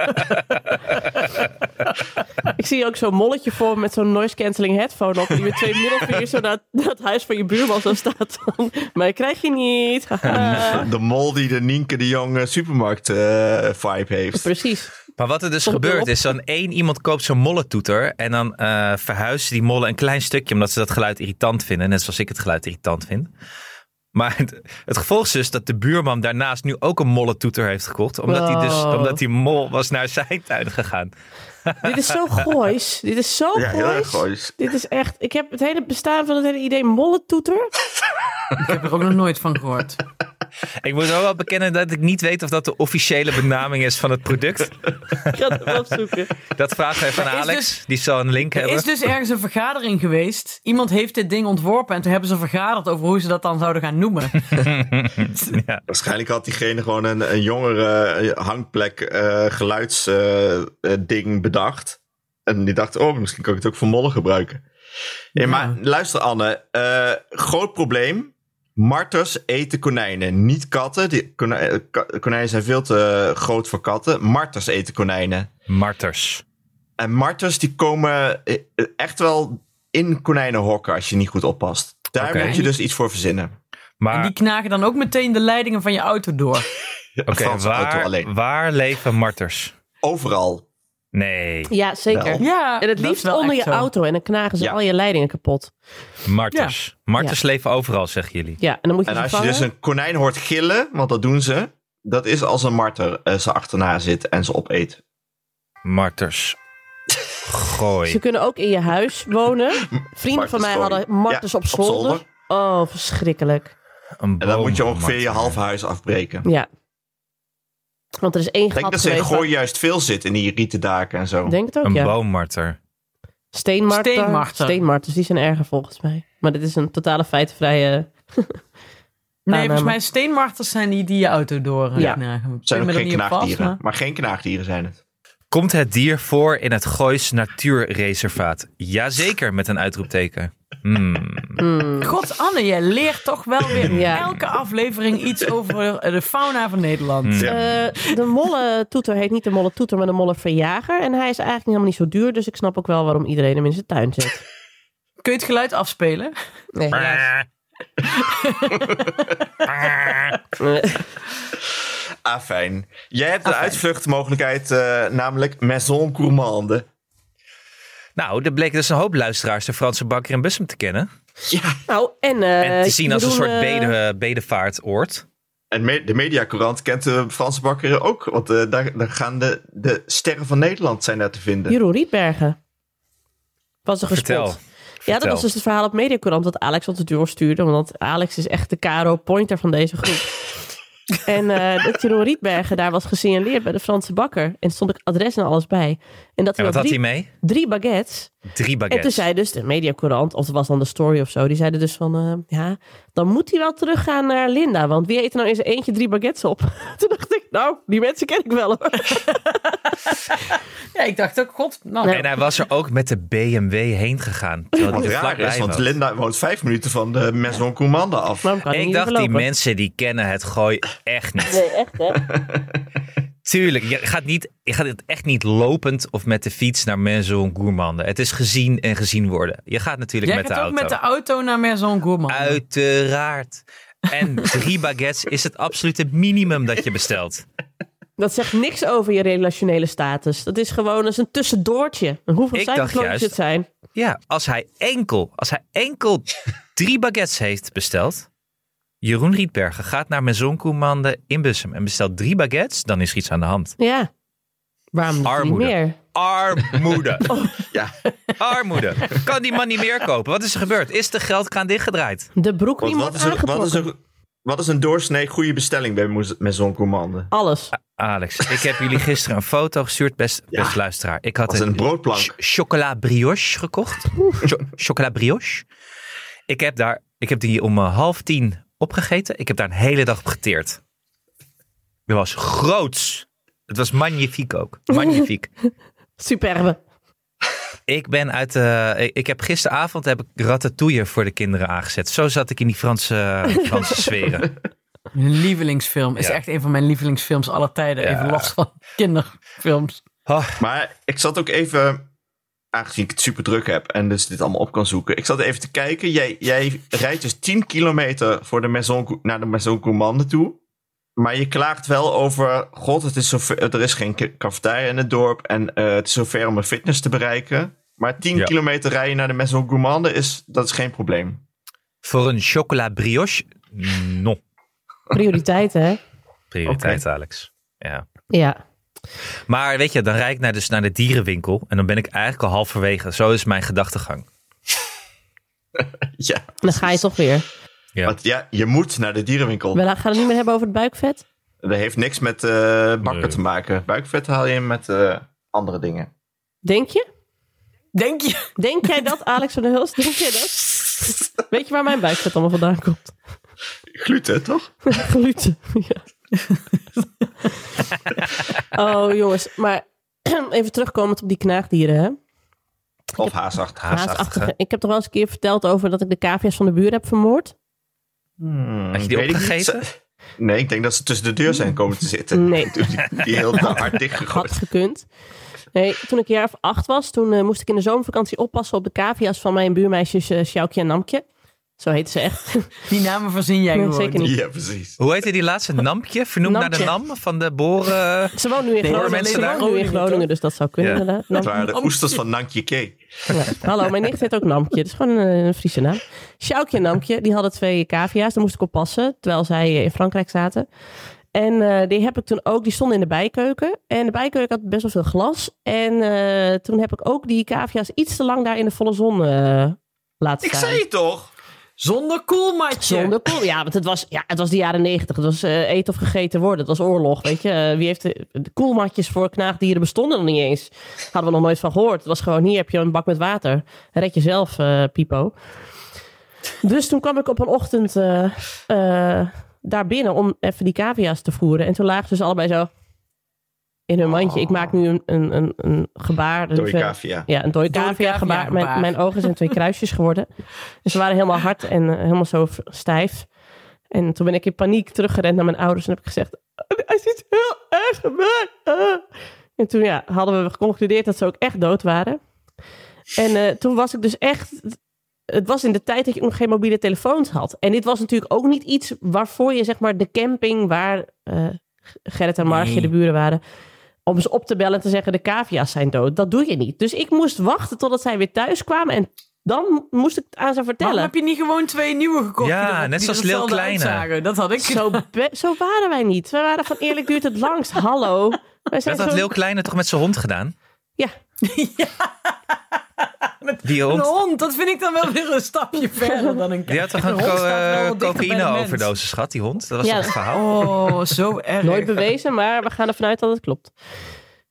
Ik zie ook zo'n molletje voor me met zo'n noise cancelling headphone op. Die met twee middelvingers zo naar naar het huis van je buurman zo staat. maar krijg je niet. Haha.
De Mol die de Nienke de Jong eh, supermarkt eh, vibe heeft.
Precies.
Maar wat er dus
Toch
gebeurt
wel.
is dan één iemand koopt zo'n mollentoeter en dan eh verhuizen die mollen een klein stukje omdat ze dat geluid irritant vinden. Net zoals ik het geluid irritant vind. Maar het, het gevolg is dus dat de buurman daarnaast nu ook een mollentoeter heeft gekocht. Omdat, hij dus,
Oh.
omdat die mol was naar zijn tuin gegaan.
Dit is zo goois. Dit is zo
Ja, heel erg
goois.
goois.
Dit is echt... Ik heb het hele bestaan van het hele idee mollentoeter.
Ik heb er ook nog nooit van gehoord.
Ik moet wel wel bekennen dat ik niet weet of dat de officiële benaming is van het product.
Ik ga het wel opzoeken.
Dat vragen wij van
is
Alex.
dus-
die zal een link
Er
hebben.
is dus ergens een vergadering geweest. Iemand heeft dit ding ontworpen en toen hebben ze vergaderd over hoe ze dat dan zouden gaan noemen.
Waarschijnlijk had diegene gewoon een, een jongere eh, hangplek geluidsding eh, bedacht. En die dacht, oh, misschien kan ik het ook voor mollen gebruiken. Nee,
Ja.
maar luister Anne, eh, groot probleem. Marters eten konijnen, niet katten. Die konij- eh, ka- konijnen zijn veel te eh, groot voor katten. Marters eten konijnen.
dus-
Marters.
En marters die komen eh, eh, echt wel in konijnenhokken als je niet goed oppast. Daar
Oké.
moet je dus iets voor verzinnen.
En
Maar
die knagen dan ook meteen de leidingen van je auto door.
oké,
Franse auto alleen.
waar, waar leven marters?
Overal.
Nee,
Ja, zeker.
Wel.
Ja,
En het
dat is
liefst
wel
onder
echt
je
zo.
auto. En dan knagen ze
Ja.
al je leidingen kapot.
marters. Marters leven overal, zeggen jullie.
Ja, en dan moet je
En
ze
als je
vangen.
dus een konijn hoort gillen, want dat doen ze, dat is als een marter eh, ze achterna zit en ze opeet.
Marters.
Ze
Gooi.
kunnen ook in je huis wonen. Vrienden van
Martens
mij
wonen.
hadden martens
Ja,
op, zolder. Oh, verschrikkelijk.
Een
En dan moet je
boom,
ongeveer je
marter.
half huis afbreken.
Ja. Want er is één
Ik denk
gat
dat ze in
geweest.
Gooi juist veel zit in die rieten daken en zo.
Ik denk het ook,
Een
ja.
boommarter.
Steenmarten.
Steenmarten.
Steenmartens, die zijn erger volgens mij. Maar dit is een totale feitenvrije...
Nee, volgens
Aanname.
mij steenmarters zijn die die je auto door eh,
ehm, Ja.
knagen.
Het zijn
Ik
ook
ben er
geen
niet op vast,
knaagdieren.
maar-
maar... geen knaagdieren zijn het.
Komt het dier voor in het Goois Natuurreservaat? Jazeker, met een uitroepteken. Hmm.
Hmm.
God, Anne, jij leert toch wel weer
Ja.
elke aflevering iets over eh, de fauna van Nederland.
Hmm.
Eh, de mollentoeter heet niet de mollentoeter, maar de mollenverjager. En hij is eigenlijk helemaal niet zo duur, dus ik snap ook wel waarom iedereen hem in zijn tuin zet.
Kun je het geluid afspelen?
Nee, helaas. Eh,
Ah, fijn. Jij hebt een uitvluchtmogelijkheid, eh, namelijk Maison Gourmande.
Nou, er bleek dus een hoop luisteraars de Franse bakker in Bussum te kennen.
nou, en... eh,
en te zien als een
Jeroen,
soort
eh,
bede, bedevaartoord.
En me- de Mediacourant kent de Franse bakker ook. Want eh, daar, daar gaan de, de sterren van Nederland zijn daar te vinden.
Jeroen Rietbergen. Was er gespot.
Vertel.
Ja, dat
Vertel.
was dus het verhaal op Mediacorant dat Alex ons het doorstuurde. Want Alex is echt de Caro Pointer van deze groep. en eh, dat Jeroen Rietbergen daar was gesignaleerd bij de Franse bakker. En stond ik adres en alles bij. En dat
En
hij al
wat had hij
drie,
mee?
drie baguettes
Drie
En toen
baguettes.
zei dus de mediacourant, of het was dan de story of zo, die zeiden dus van, eh, ja, dan moet hij wel teruggaan naar Linda, want wie eet er nou eens eentje drie baguettes op? Toen dacht ik, nou, die mensen ken ik wel hoor.
Ja, ik dacht ook, god, nou,
En hij was er ook met de BMW heen gegaan. Terwijl
Wat
hij er
raar
vlakbij
is, want
woont.
Linda woont vijf minuten van de Maison Commande af.
Waarom kan hij
Ik
niet
dacht, die
overlopen?
mensen die kennen het gooi echt niet.
Nee, echt hè?
Tuurlijk, je gaat, niet, je gaat het echt niet lopend of met de fiets naar Maison Gourmande. Het is gezien en gezien worden. Je gaat natuurlijk
jij
met
gaat
de
ook
auto.
met de auto naar Maison Gourmand.
Uiteraard. En drie baguettes is het absolute minimum dat je bestelt.
Dat zegt niks over je relationele status. Dat is gewoon eens een tussendoortje. En Hoeveel
Ik dacht
cijferklontjes
juist-
het zijn.
Ja, als hij enkel, als hij enkel drie baguettes heeft besteld. Jeroen Rietbergen gaat naar Maison Gourmande in Bussum en bestelt drie baguettes, dan is er iets aan de hand.
Ja. Waarom doet hij niet
Armoede.
meer?
Armoede.
Ja.
Armoede. Oh. Kan die man niet meer kopen? Wat is er gebeurd? Is de geldkraan dichtgedraaid?
De broek
Want
niet
wat
wordt
is, een,
aangetrokken.
wat, is een, wat is een doorsnee goede bestelling bij Moes- Maison Commande?
Alles.
Alex, ik heb jullie gisteren een foto gestuurd, best, best luisteraar. Ik had
Dat is een broodplank.
ch- chocola brioche gekocht. Cho- chocola brioche. Ik heb, daar, ik heb die om eh, half tien opgegeten. Ik heb daar een hele dag op geteerd. Het was groots. Het was magnifiek ook. Magnifiek.
Superbe.
ik ben uit de... ik- Ik heb gisteravond heb ik ratatouille voor de kinderen aangezet. Zo zat ik in die Franse, Franse sferen.
Mijn lievelingsfilm. Is
Ja.
echt een van mijn lievelingsfilms aller tijden.
Ja.
Even los van kinderfilms.
Maar ik zat ook even, aangezien ik het super druk heb en dus dit allemaal op kan zoeken. Ik zat even te kijken. Jij, jij rijdt dus 10 kilometer voor de Maison, Cou- naar de Maison Commande toe. Maar je klaagt wel over, god, het is zo ver- er is geen ca- cafetaria in het dorp en eh, het is zo ver om een fitness te bereiken. Maar 10
Ja.
kilometer rijden naar de Maison Gourmande is, dat is geen probleem.
Voor een chocola brioche? Mm, Non.
Prioriteiten hè?
Prioriteit, Alex. Ja.
Ja.
Maar weet je, dan rijd ik naar, dus naar de dierenwinkel. En dan ben ik eigenlijk al halverwege. Zo is mijn gedachtegang.
Ja,
Dan ga je toch weer.
Ja.
want ja, je moet naar de dierenwinkel.
We gaan het niet meer hebben over het buikvet.
Dat heeft niks met eh, bakken
Nee.
te maken. Buikvet haal je met eh, andere dingen.
Denk je?
Denk je?
Denk jij dat, Alex van der Hulst? Denk jij dat? Weet je waar mijn buikvet allemaal vandaan komt?
Gluten, toch?
Gluten. Ja. oh, jongens. Maar even terugkomend op die knaagdieren, hè?
Of haasachtig.
Haasachtige.
Haasachtige. Ik heb toch wel eens een keer verteld over dat ik de cavia's van de buur heb vermoord?
Hmm,
Had je die
weet ik niet.
opgegeten?
Ze- Nee, ik denk dat ze tussen de deur zijn komen te zitten.
Nee.
Toen Die, die heel hard
Had
dichtgegooid.
gekund. Nee, toen ik een jaar of acht was, toen eh, moest ik in de zomervakantie oppassen op de cavia's van mijn buurmeisjes eh Sjoukje en Namkje. Zo heet ze echt.
Die namen voorzien jij
Nee,
gewoon.
zeker niet.
Ja, precies.
Hoe heette die laatste? Nampje? Vernoemd naar de
Nampje.
nam van de boren.
Ze woont nu in
Nee,
Groningen.
mensen
ze
daar
woont nu in
Groningen,
Groningen,
toch?
dus dat zou kunnen
Ja.
inderdaad.
Dat waren de oesters van Nankje Kee.
Ja. Hallo, mijn nicht heet ook Namkje. Dat is gewoon een, een Friese naam. Sjoukje en Namkje, die hadden twee cavia's. Daar moest ik op passen, terwijl zij eh, in Frankrijk zaten. En eh, die heb ik toen ook, die stonden in de bijkeuken. En de bijkeuken had best wel veel glas. En eh, toen heb ik ook die cavia's iets te lang daar in de volle zon eh, laten
Ik
staan.
zei het toch?
Zonder koelmatje.
Zonder koel. Ja, want het was, ja, het was de jaren negentig. Het was eh, eten of gegeten worden. Het was oorlog, weet je. Eh, wie heeft de, de koelmatjes voor knaagdieren bestonden nog niet eens. Hadden we nog nooit van gehoord. Het was gewoon, hier heb je een bak met water. Red jezelf, eh, Pipo. Dus toen kwam ik op een ochtend eh, eh, daar binnen om even die cavia's te voeren. En toen lagen ze dus allebei zo in hun mandje. Ik maak nu een, een, een, een gebaar.
Door je
Dus, eh,
cavia.
ja, een dode
Dode
cavia
cavia
gebaar. Mijn,
gebaar.
mijn ogen zijn twee kruisjes geworden. Dus ze waren helemaal hard en eh, helemaal zo v- stijf. En toen ben ik in paniek teruggerend naar mijn ouders en heb ik gezegd... "Oh, Er is iets heel ergs gebeurd. Ah." En toen ja, hadden we geconcludeerd dat ze ook echt dood waren. En eh, toen was ik dus echt... Het was in de tijd dat je nog geen mobiele telefoons had. En dit was natuurlijk ook niet iets waarvoor je zeg maar de camping waar eh, Gerrit en Margje
Nee.
de buren waren om ze op te bellen en te zeggen de cavia's zijn dood. Dat doe je niet. Dus ik moest wachten totdat zij weer thuis kwamen en Dan moest ik het aan ze
Waarom
vertellen.
heb je niet gewoon twee nieuwe gekocht?
Ja,
die er-
net
die er
zoals Lil
hetzelfde
Kleine.
uitzagen? Dat had ik.
Zo, be- zo waren wij niet. We waren van eerlijk duurt het langst. Hallo. Wij zijn
Dat had
zo-
Leeuw Kleine toch met zijn hond gedaan?
Ja.
Die
Een
hond,
hond, dat vind ik dan wel weer een stapje verder dan een
die had toch een
Een hond
co-
staat wel
eh,
wat dichter bij de mens.
cocaïne-overdosis gehad, die hond? Dat was
Ja.
toch het verhaal?
Oh, zo erg.
Nooit bewezen, maar we gaan ervan uit dat het klopt.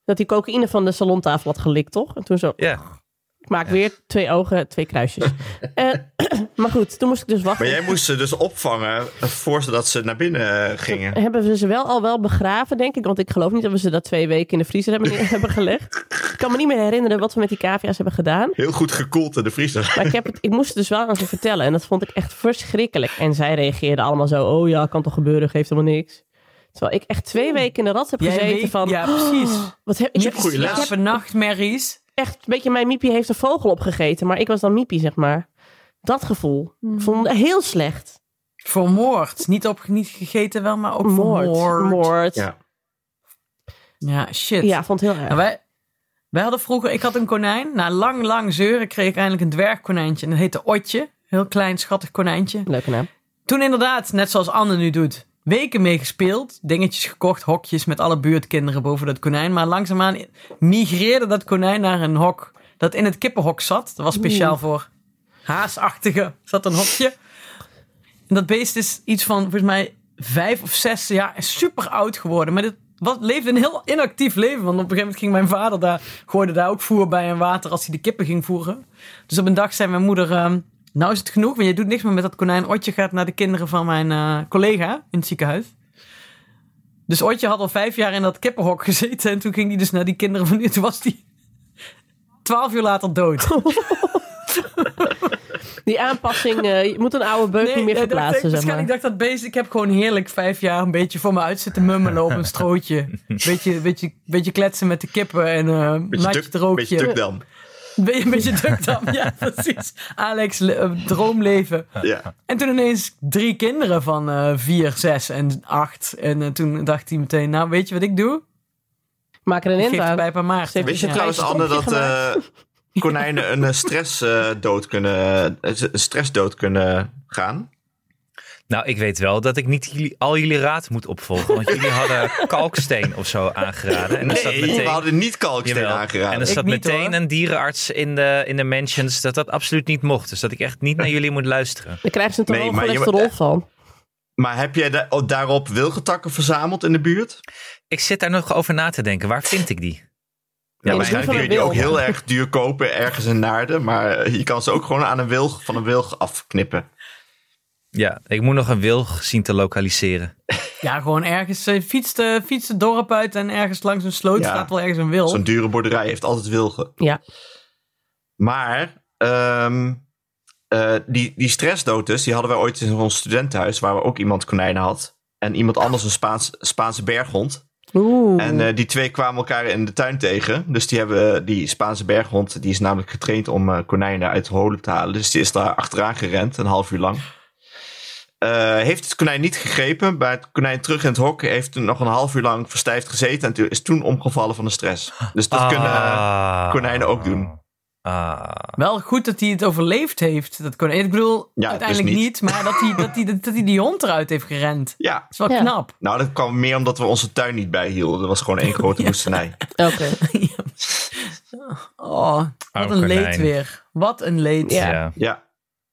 Dat die cocaïne van de salontafel had gelikt, toch? En toen zo,
Ja.
ik maak weer twee ogen, twee kruisjes. Eh, maar goed, toen moest ik dus wachten.
Maar jij moest ze dus opvangen voor ze dat ze naar binnen eh, gingen.
Hebben we ze wel al wel begraven, denk ik? Want ik geloof niet dat we ze dat twee weken in de vriezer hebben, hebben gelegd. Ik kan me niet meer herinneren wat we met die cavia's hebben gedaan.
Heel goed gekoeld in de vriezer.
Maar ik, heb het, ik moest het dus wel aan ze vertellen. En dat vond ik echt verschrikkelijk. En zij reageerden allemaal zo: oh ja, kan toch gebeuren, geeft helemaal niks. Terwijl ik echt twee weken in de rat heb
Jij
gezeten
weet-
van.
ja, precies.
Wat heb, ik
Je
heb
hebt goede les.
ik heb
Slapen nachtmerries.
echt een beetje mijn Miepie heeft een vogel opgegeten, maar ik was dan Miepie, zeg maar. Dat gevoel. Ik vond het heel slecht.
Vermoord. Niet, op, niet gegeten wel, maar ook
Moord.
vermoord.
Moord. Ja,
Ja.
Ja, shit.
vond het heel
Nou,
erg.
wij, wij hadden vroeger, ik had een konijn. Na lang, lang zeuren kreeg ik eindelijk een dwergkonijntje. En dat heette Otje. Heel klein, schattig konijntje.
Leuke naam.
Toen inderdaad, net zoals Anne nu doet, weken mee gespeeld. Dingetjes gekocht, hokjes met alle buurtkinderen boven dat konijn. Maar langzaamaan migreerde dat konijn naar een hok dat in het kippenhok zat. Dat was speciaal voor haasachtige, zat een hokje. En dat beest is iets van, volgens mij, vijf of zes jaar en super oud geworden. Maar dit was, leefde een heel inactief leven. Want op een gegeven moment ging mijn vader daar, gooide daar ook voer bij en water als hij de kippen ging voeren. Dus op een dag zei mijn moeder, ehm, nou is het genoeg, want je doet niks meer met dat konijn. Otje gaat naar de kinderen van mijn eh, collega in het ziekenhuis. Dus Otje had al vijf jaar in dat kippenhok gezeten. En toen ging hij dus naar die kinderen van... Toen was hij twaalf uur later dood.
Die aanpassing, eh, je moet een oude beuk niet meer
dat- dat-
verplaatsen, zeg maar.
waarschijnlijk dacht dat beest, ik heb gewoon heerlijk vijf jaar een beetje voor me uit zitten mummelen op een strootje. Beetje, beetje, beetje kletsen met de kippen en eh een
Beetje
natje
duk,
droogje.
beetje dukdam.
Beetje- Een beetje dukdam, ja precies. Alex, le- eh, droomleven.
Ja.
En toen ineens drie kinderen van eh, vier, zes en acht. En eh, toen dacht hij meteen, nou weet je wat ik doe?
Maak er een
Ik
end
geef het bij
aan.
bij Maarten.
Weet
Weet je
Ja.
trouwens,
Klein
Anne, dat
stofje
eh, konijnen een eh, stress eh, dood kunnen, eh, stress dood kunnen gaan?
Nou, ik weet wel dat ik niet jullie, al jullie raad moet opvolgen. Want jullie hadden kalksteen of zo aangeraden. En dan staat
Nee, we
meteen...
hadden niet kalksteen
Jawel. En er
aangeraden.
staat
niet,
meteen
hoor.
een dierenarts in de, in de mentions dat dat absoluut niet mocht. Dus dat ik echt niet naar jullie moet luisteren.
Daar krijgen ze een te
Nee,
hoog
maar je-
cholesterol van.
Maar heb jij da- oh, daarop wilgetakken verzameld in de buurt?
Ik zit daar nog over na te denken. Waar vind ik die?
Ja,
in
waarschijnlijk
ieder geval
kun je die ook
een wilg.
heel erg duur kopen ergens in Naarden. Maar eh, je kan ze ook gewoon aan een wilg, van een wilg afknippen.
Ja, ik moet nog een wilg zien te lokaliseren.
Ja, gewoon ergens eh, fietst, eh, fietst het dorp uit en ergens langs een sloot
Ja.
staat wel ergens een wil.
Zo'n dure boerderij heeft altijd wilgen.
Ja.
Maar ehm, eh, die, die stressdood dus, die hadden wij ooit in ons studentenhuis... waar we ook iemand konijnen had. En iemand anders een Spaans, Spaanse berghond.
Oeh.
En eh, die twee kwamen elkaar in de tuin tegen. Dus die hebben eh, die Spaanse berghond, die is namelijk getraind om eh, konijnen uit holen te halen. Dus die is daar achteraan gerend, een half uur lang. Eh, heeft het konijn niet gegrepen, maar het konijn terug in het hok heeft toen nog een half uur lang verstijfd gezeten en toen- is toen omgevallen van de stress. Dus dat kunnen eh,
Ah.
konijnen ook doen.
Ah.
Wel goed dat hij het overleefd heeft. Dat kon, ik bedoel,
dus
uiteindelijk
niet.
niet. maar dat hij, dat, hij, dat, hij die hond eruit heeft gerend. Dat
ja.
is wel
Ja.
knap.
Nou, dat kwam meer omdat we onze tuin niet bijhielden. Dat was gewoon één grote woestenij.
Oké.
Oh, wat
Arm
een leed
konijn.
weer. Wat een leed.
Ja.
Ja.
Ja,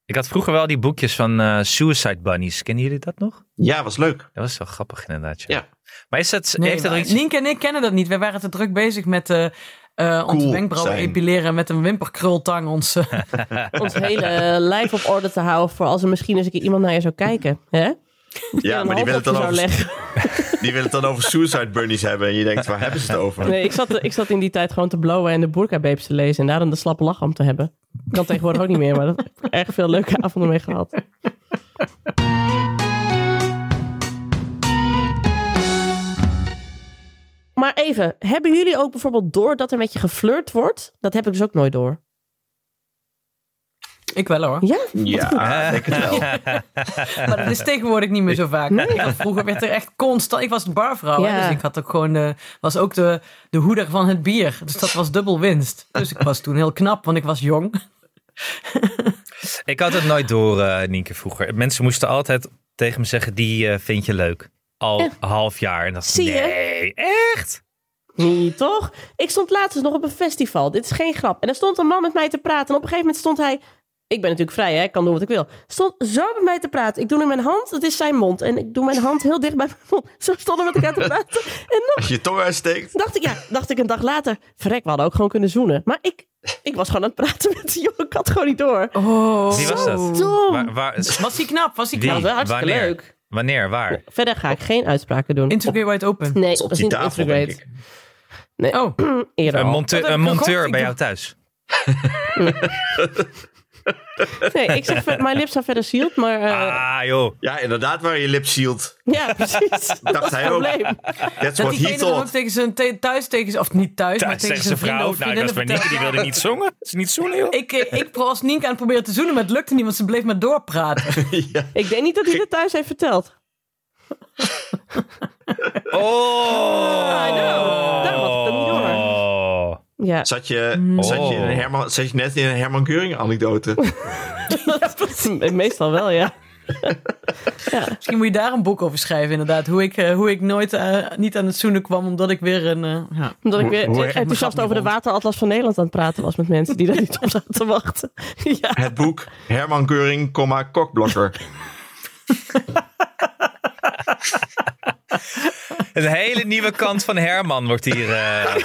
Ik had vroeger wel die boekjes van eh, Suicide Bunnies. Kennen jullie dat nog?
ja was leuk.
Dat was wel grappig inderdaad. Ja.
Ja.
Maar is dat,
Nee,
heeft dat
maar
er iets...
Nienke en ik kennen dat niet. Wij waren te druk bezig met eh, eh, onze
Cool
wenkbrauwen
zijn.
epileren en met een wimperkrultang. Ons, eh,
Ons hele eh, lijf op orde te houden voor als er misschien eens een keer iemand naar je zou kijken. Hè?
Ja,
Een
maar die
hand
willen,
op
het
je
dan
zou
over,
leggen.
die willen het dan over suicide bunnies hebben. En je denkt, waar hebben ze het over?
Nee, ik zat, ik zat in die tijd gewoon te blowen en de boerkababes te lezen. En daarom de slappe lach om te hebben. Kan tegenwoordig ook niet meer, maar dat heb ik erg veel leuke avonden mee gehad. Maar even, hebben jullie ook bijvoorbeeld door dat er met je geflirt wordt? Dat heb ik dus ook nooit door.
ik wel hoor.
Ja?
Ja, ik denk het wel.
Maar dat is tegenwoordig niet meer zo vaak. Ja, vroeger werd er echt constant... Ik was de barvrouw, hè,
Ja.
dus ik had ook gewoon de, was ook de, de hoeder van het bier. Dus dat was dubbel winst. Dus ik was toen heel knap, want ik was jong.
Ik had het nooit door, eh, Nienke, vroeger. Mensen moesten altijd tegen me zeggen, die eh, vind je leuk. Al een half jaar. En dacht ik,
Zie je?
nee, echt?
Nee, toch? Ik stond laatst eens nog op een festival. Dit is geen grap. En daar stond een man met mij te praten. En op een gegeven moment stond hij... Ik ben natuurlijk vrij, hè? ik kan doen wat ik wil. Stond zo met mij te praten. Ik doe nu mijn hand, dat is zijn mond. En ik doe mijn hand heel dicht bij mijn mond. Zo stonden we met elkaar te praten. En nog
Als je je tong uitsteekt.
dacht ik, ja, dacht ik een dag later... Verrek, we hadden ook gewoon kunnen zoenen. Maar ik, ik was gewoon aan het praten met die jongen. Ik had het gewoon niet door.
Oh.
Wie was dat?
Dom.
Waar, waar,
Was hij knap? Was hij
Wie?
dat
knap?
was wel hartstikke
Wanneer?
leuk.
wanneer, waar?
Verder ga ik geen uitspraken doen.
Interview wide open.
Op- nee,
Op
dat is
die
niet
tafel, denk
integrate.
ik.
Oh,
Eerder
Een,
al.
monte-
dat heb
een
ik nog
monteur
gehoord.
bij
Ik
jou thuis.
Nee, ik zeg, ver- mijn lips zijn verder sealed, maar... eh,
ah, joh.
Ja, inderdaad, waar je lip zielt.
Ja, precies. Dat
Dacht
is
hij
het
ook.
probleem.
dat
That's what
diegene
he
dan ook
thought.
tegen zijn te- thuis tegen zijn, of niet thuis, maar
Thuis
tegen
zegt
zijn
zijn
vrienden
vrouw.
of
Nou, dat was
vriendinnen
bij Nienke, die
vertelt.
wilde niet zongen. Ze niet zoenen, joh.
Ik, eh, ik was Nienke aan het proberen te zoenen, maar het lukte niet, want ze bleef maar doorpraten.
Ja.
Ik denk niet dat hij dat thuis heeft verteld.
Oh!
I know. Daarom had ik dat niet
Oh.
Ja,
Zat je, zat, je in een Herman, zat je net in een Herman Geuring anekdote?
meestal wel, ja.
Misschien moet je daar een boek over schrijven, inderdaad. Hoe ik, eh, hoe ik nooit eh, niet aan het zoenen kwam, omdat ik weer een... eh, ja.
Omdat ik weer
hoe heet mijn
grap
enthousiast
niet
over de
rond?
wateratlas van Nederland aan het praten was met mensen die daar niet op zaten te wachten. Ja,
Het boek Herman Geuring, comma, kokblokker.
Een hele nieuwe kant van Herman wordt hier eh,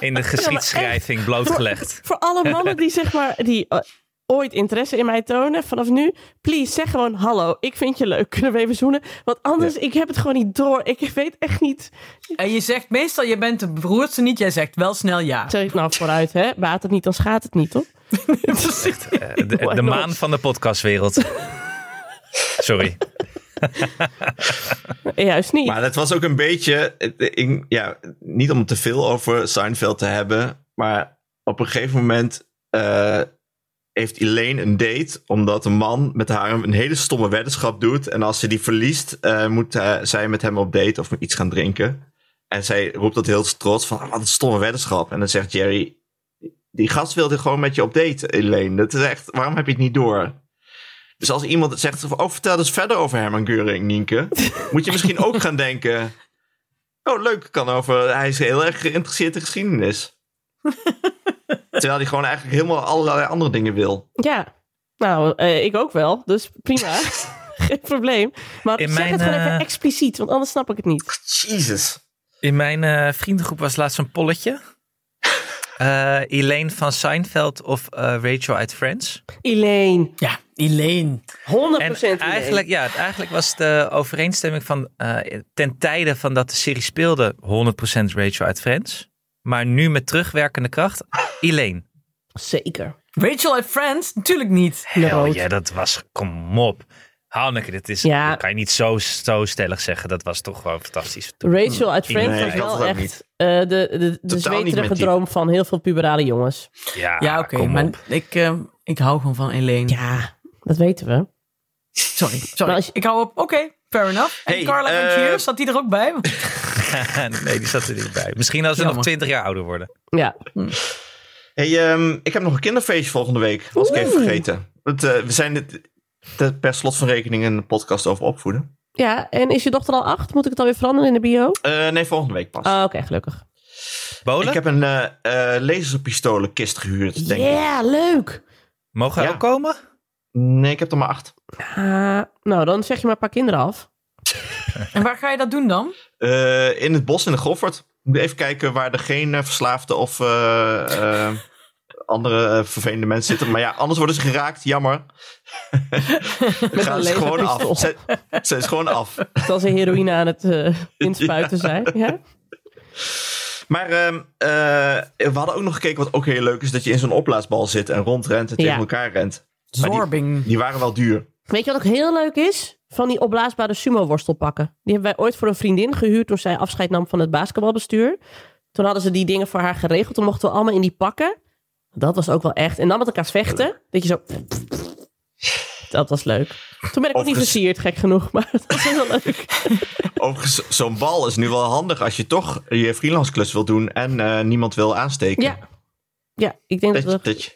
in de geschiedschrijving blootgelegd.
voor alle mannen die zeg maar, die eh, ooit interesse in mij tonen, vanaf nu, please zeg gewoon hallo, ik vind je leuk, kunnen we even zoenen? Want anders, ik heb het gewoon niet door. Ik weet echt niet.
En je zegt meestal, je bent de beroerdste niet, jij zegt wel snel ja.
Zeg ik nou vooruit, hè? Baat het niet, dan schaadt het niet, toch?
Eh, De, de maan van de podcastwereld. Sorry.
Juist niet.
Maar dat was ook een beetje, eh, ik- ja, niet om te veel over Seinfeld te hebben, maar op een gegeven moment eh, heeft Elaine een date, omdat een man met haar een, een hele stomme weddenschap doet. En als ze die verliest, eh, moet eh, zij met hem op date of iets gaan drinken. En zij roept dat heel trots van, "Ah, wat een stomme weddenschap. En dan zegt Jerry, die gast wilde gewoon met je op date, Elaine. Dat is echt, waarom heb je het niet door? Dus als iemand het zegt, van, oh, vertel eens verder over Herman Geuring, Nienke. Moet je misschien ook gaan denken. Oh, leuk, kan over. Hij is heel erg geïnteresseerd in geschiedenis. Terwijl hij gewoon eigenlijk helemaal allerlei andere dingen wil.
Ja, nou, eh, ik ook wel, dus prima. Geen probleem. Maar
In
zeg
mijn,
het gewoon
eh,
even expliciet, want anders snap ik het niet.
Jezus.
In mijn eh, vriendengroep was laatst een polletje. Eh Elaine van Seinfeld of eh, Rachel uit Friends.
Elaine, 100%
Ja, Elaine.
Elaine.
En eigenlijk, ja, eigenlijk was de overeenstemming van eh, ten tijde van dat de serie speelde 100% Rachel uit Friends. Maar nu met terugwerkende kracht, Elaine.
Zeker.
Rachel uit Friends? Natuurlijk niet.
Hell
Rood.
ja, dat was, kom op. Hanneke, dit is,
Ja.
dat kan je niet zo, zo stellig zeggen. Dat was toch gewoon fantastisch.
Rachel uit Friends
Hmm, Nee,
was
ik had
wel
het ook
echt
niet.
eh, de, de, de
niet
zweterige
met die.
droom van heel veel puberale jongens.
Ja,
Ja, oké,
kom
maar
op.
ik, eh, ik hou gewoon van Elaine.
Ja, dat weten we.
Sorry, sorry.
Maar als je-
Ik hou op. Oké, fair enough. En
Hey,
Carla van
eh,
Cheers, zat die er ook bij?
nee, die zat er niet bij. Misschien als we nog
Jammer.
twintig jaar ouder worden.
Ja,
Hey, ehm, ik heb nog een kinderfeestje volgende week. Was ik even
Oeh.
vergeten. Want, eh, we zijn het, het per slot van rekening een podcast over opvoeden.
ja, en is je dochter al acht? Moet ik het alweer veranderen in de bio?
Eh, nee, volgende week pas.
Oh, Oké, gelukkig.
Bolen,
ik heb een eh eh, laserpistolenkist gehuurd, denk ik.
Ja, leuk.
mogen we
Ja.
ook komen?
Nee, ik heb er maar acht.
Ah, nou, dan zeg je maar een paar kinderen af.
En waar ga je dat doen dan?
Eh, in het bos in de Goffert. Moet even kijken waar er geen eh, verslaafde of eh, eh, andere eh, vervelende mensen zitten. Maar ja, anders worden ze geraakt. Jammer. Gaan ze
een
gewoon
laserpistool.
af. Ze, ze is gewoon af.
Terwijl ze heroïne aan het eh, inspuiten zijn. Ja?
Maar ehm, eh, we hadden ook nog gekeken wat ook heel leuk is. Dat je in zo'n opblaasbal zit en rondrent en tegen
Ja.
elkaar rent. Maar die-
Zorbing.
Die waren wel duur.
Weet je wat ook heel leuk is? Van die opblaasbare sumo-worstelpakken. Die hebben wij ooit voor een vriendin gehuurd toen zij afscheid nam van het basketbalbestuur. Toen hadden ze die dingen voor haar geregeld. Toen mochten we allemaal in die pakken. Dat was ook wel echt. En dan met elkaar vechten. Dat je zo... Dat was leuk. Toen ben ik ook niet
Overigens-
versierd, gek genoeg. Maar dat was heel leuk.
Overigens, zo'n bal is nu wel handig als je toch je freelance klus wil doen en eh, niemand wil aansteken.
Ja. Ja, ik denk dat
Dat,
we...
dat je-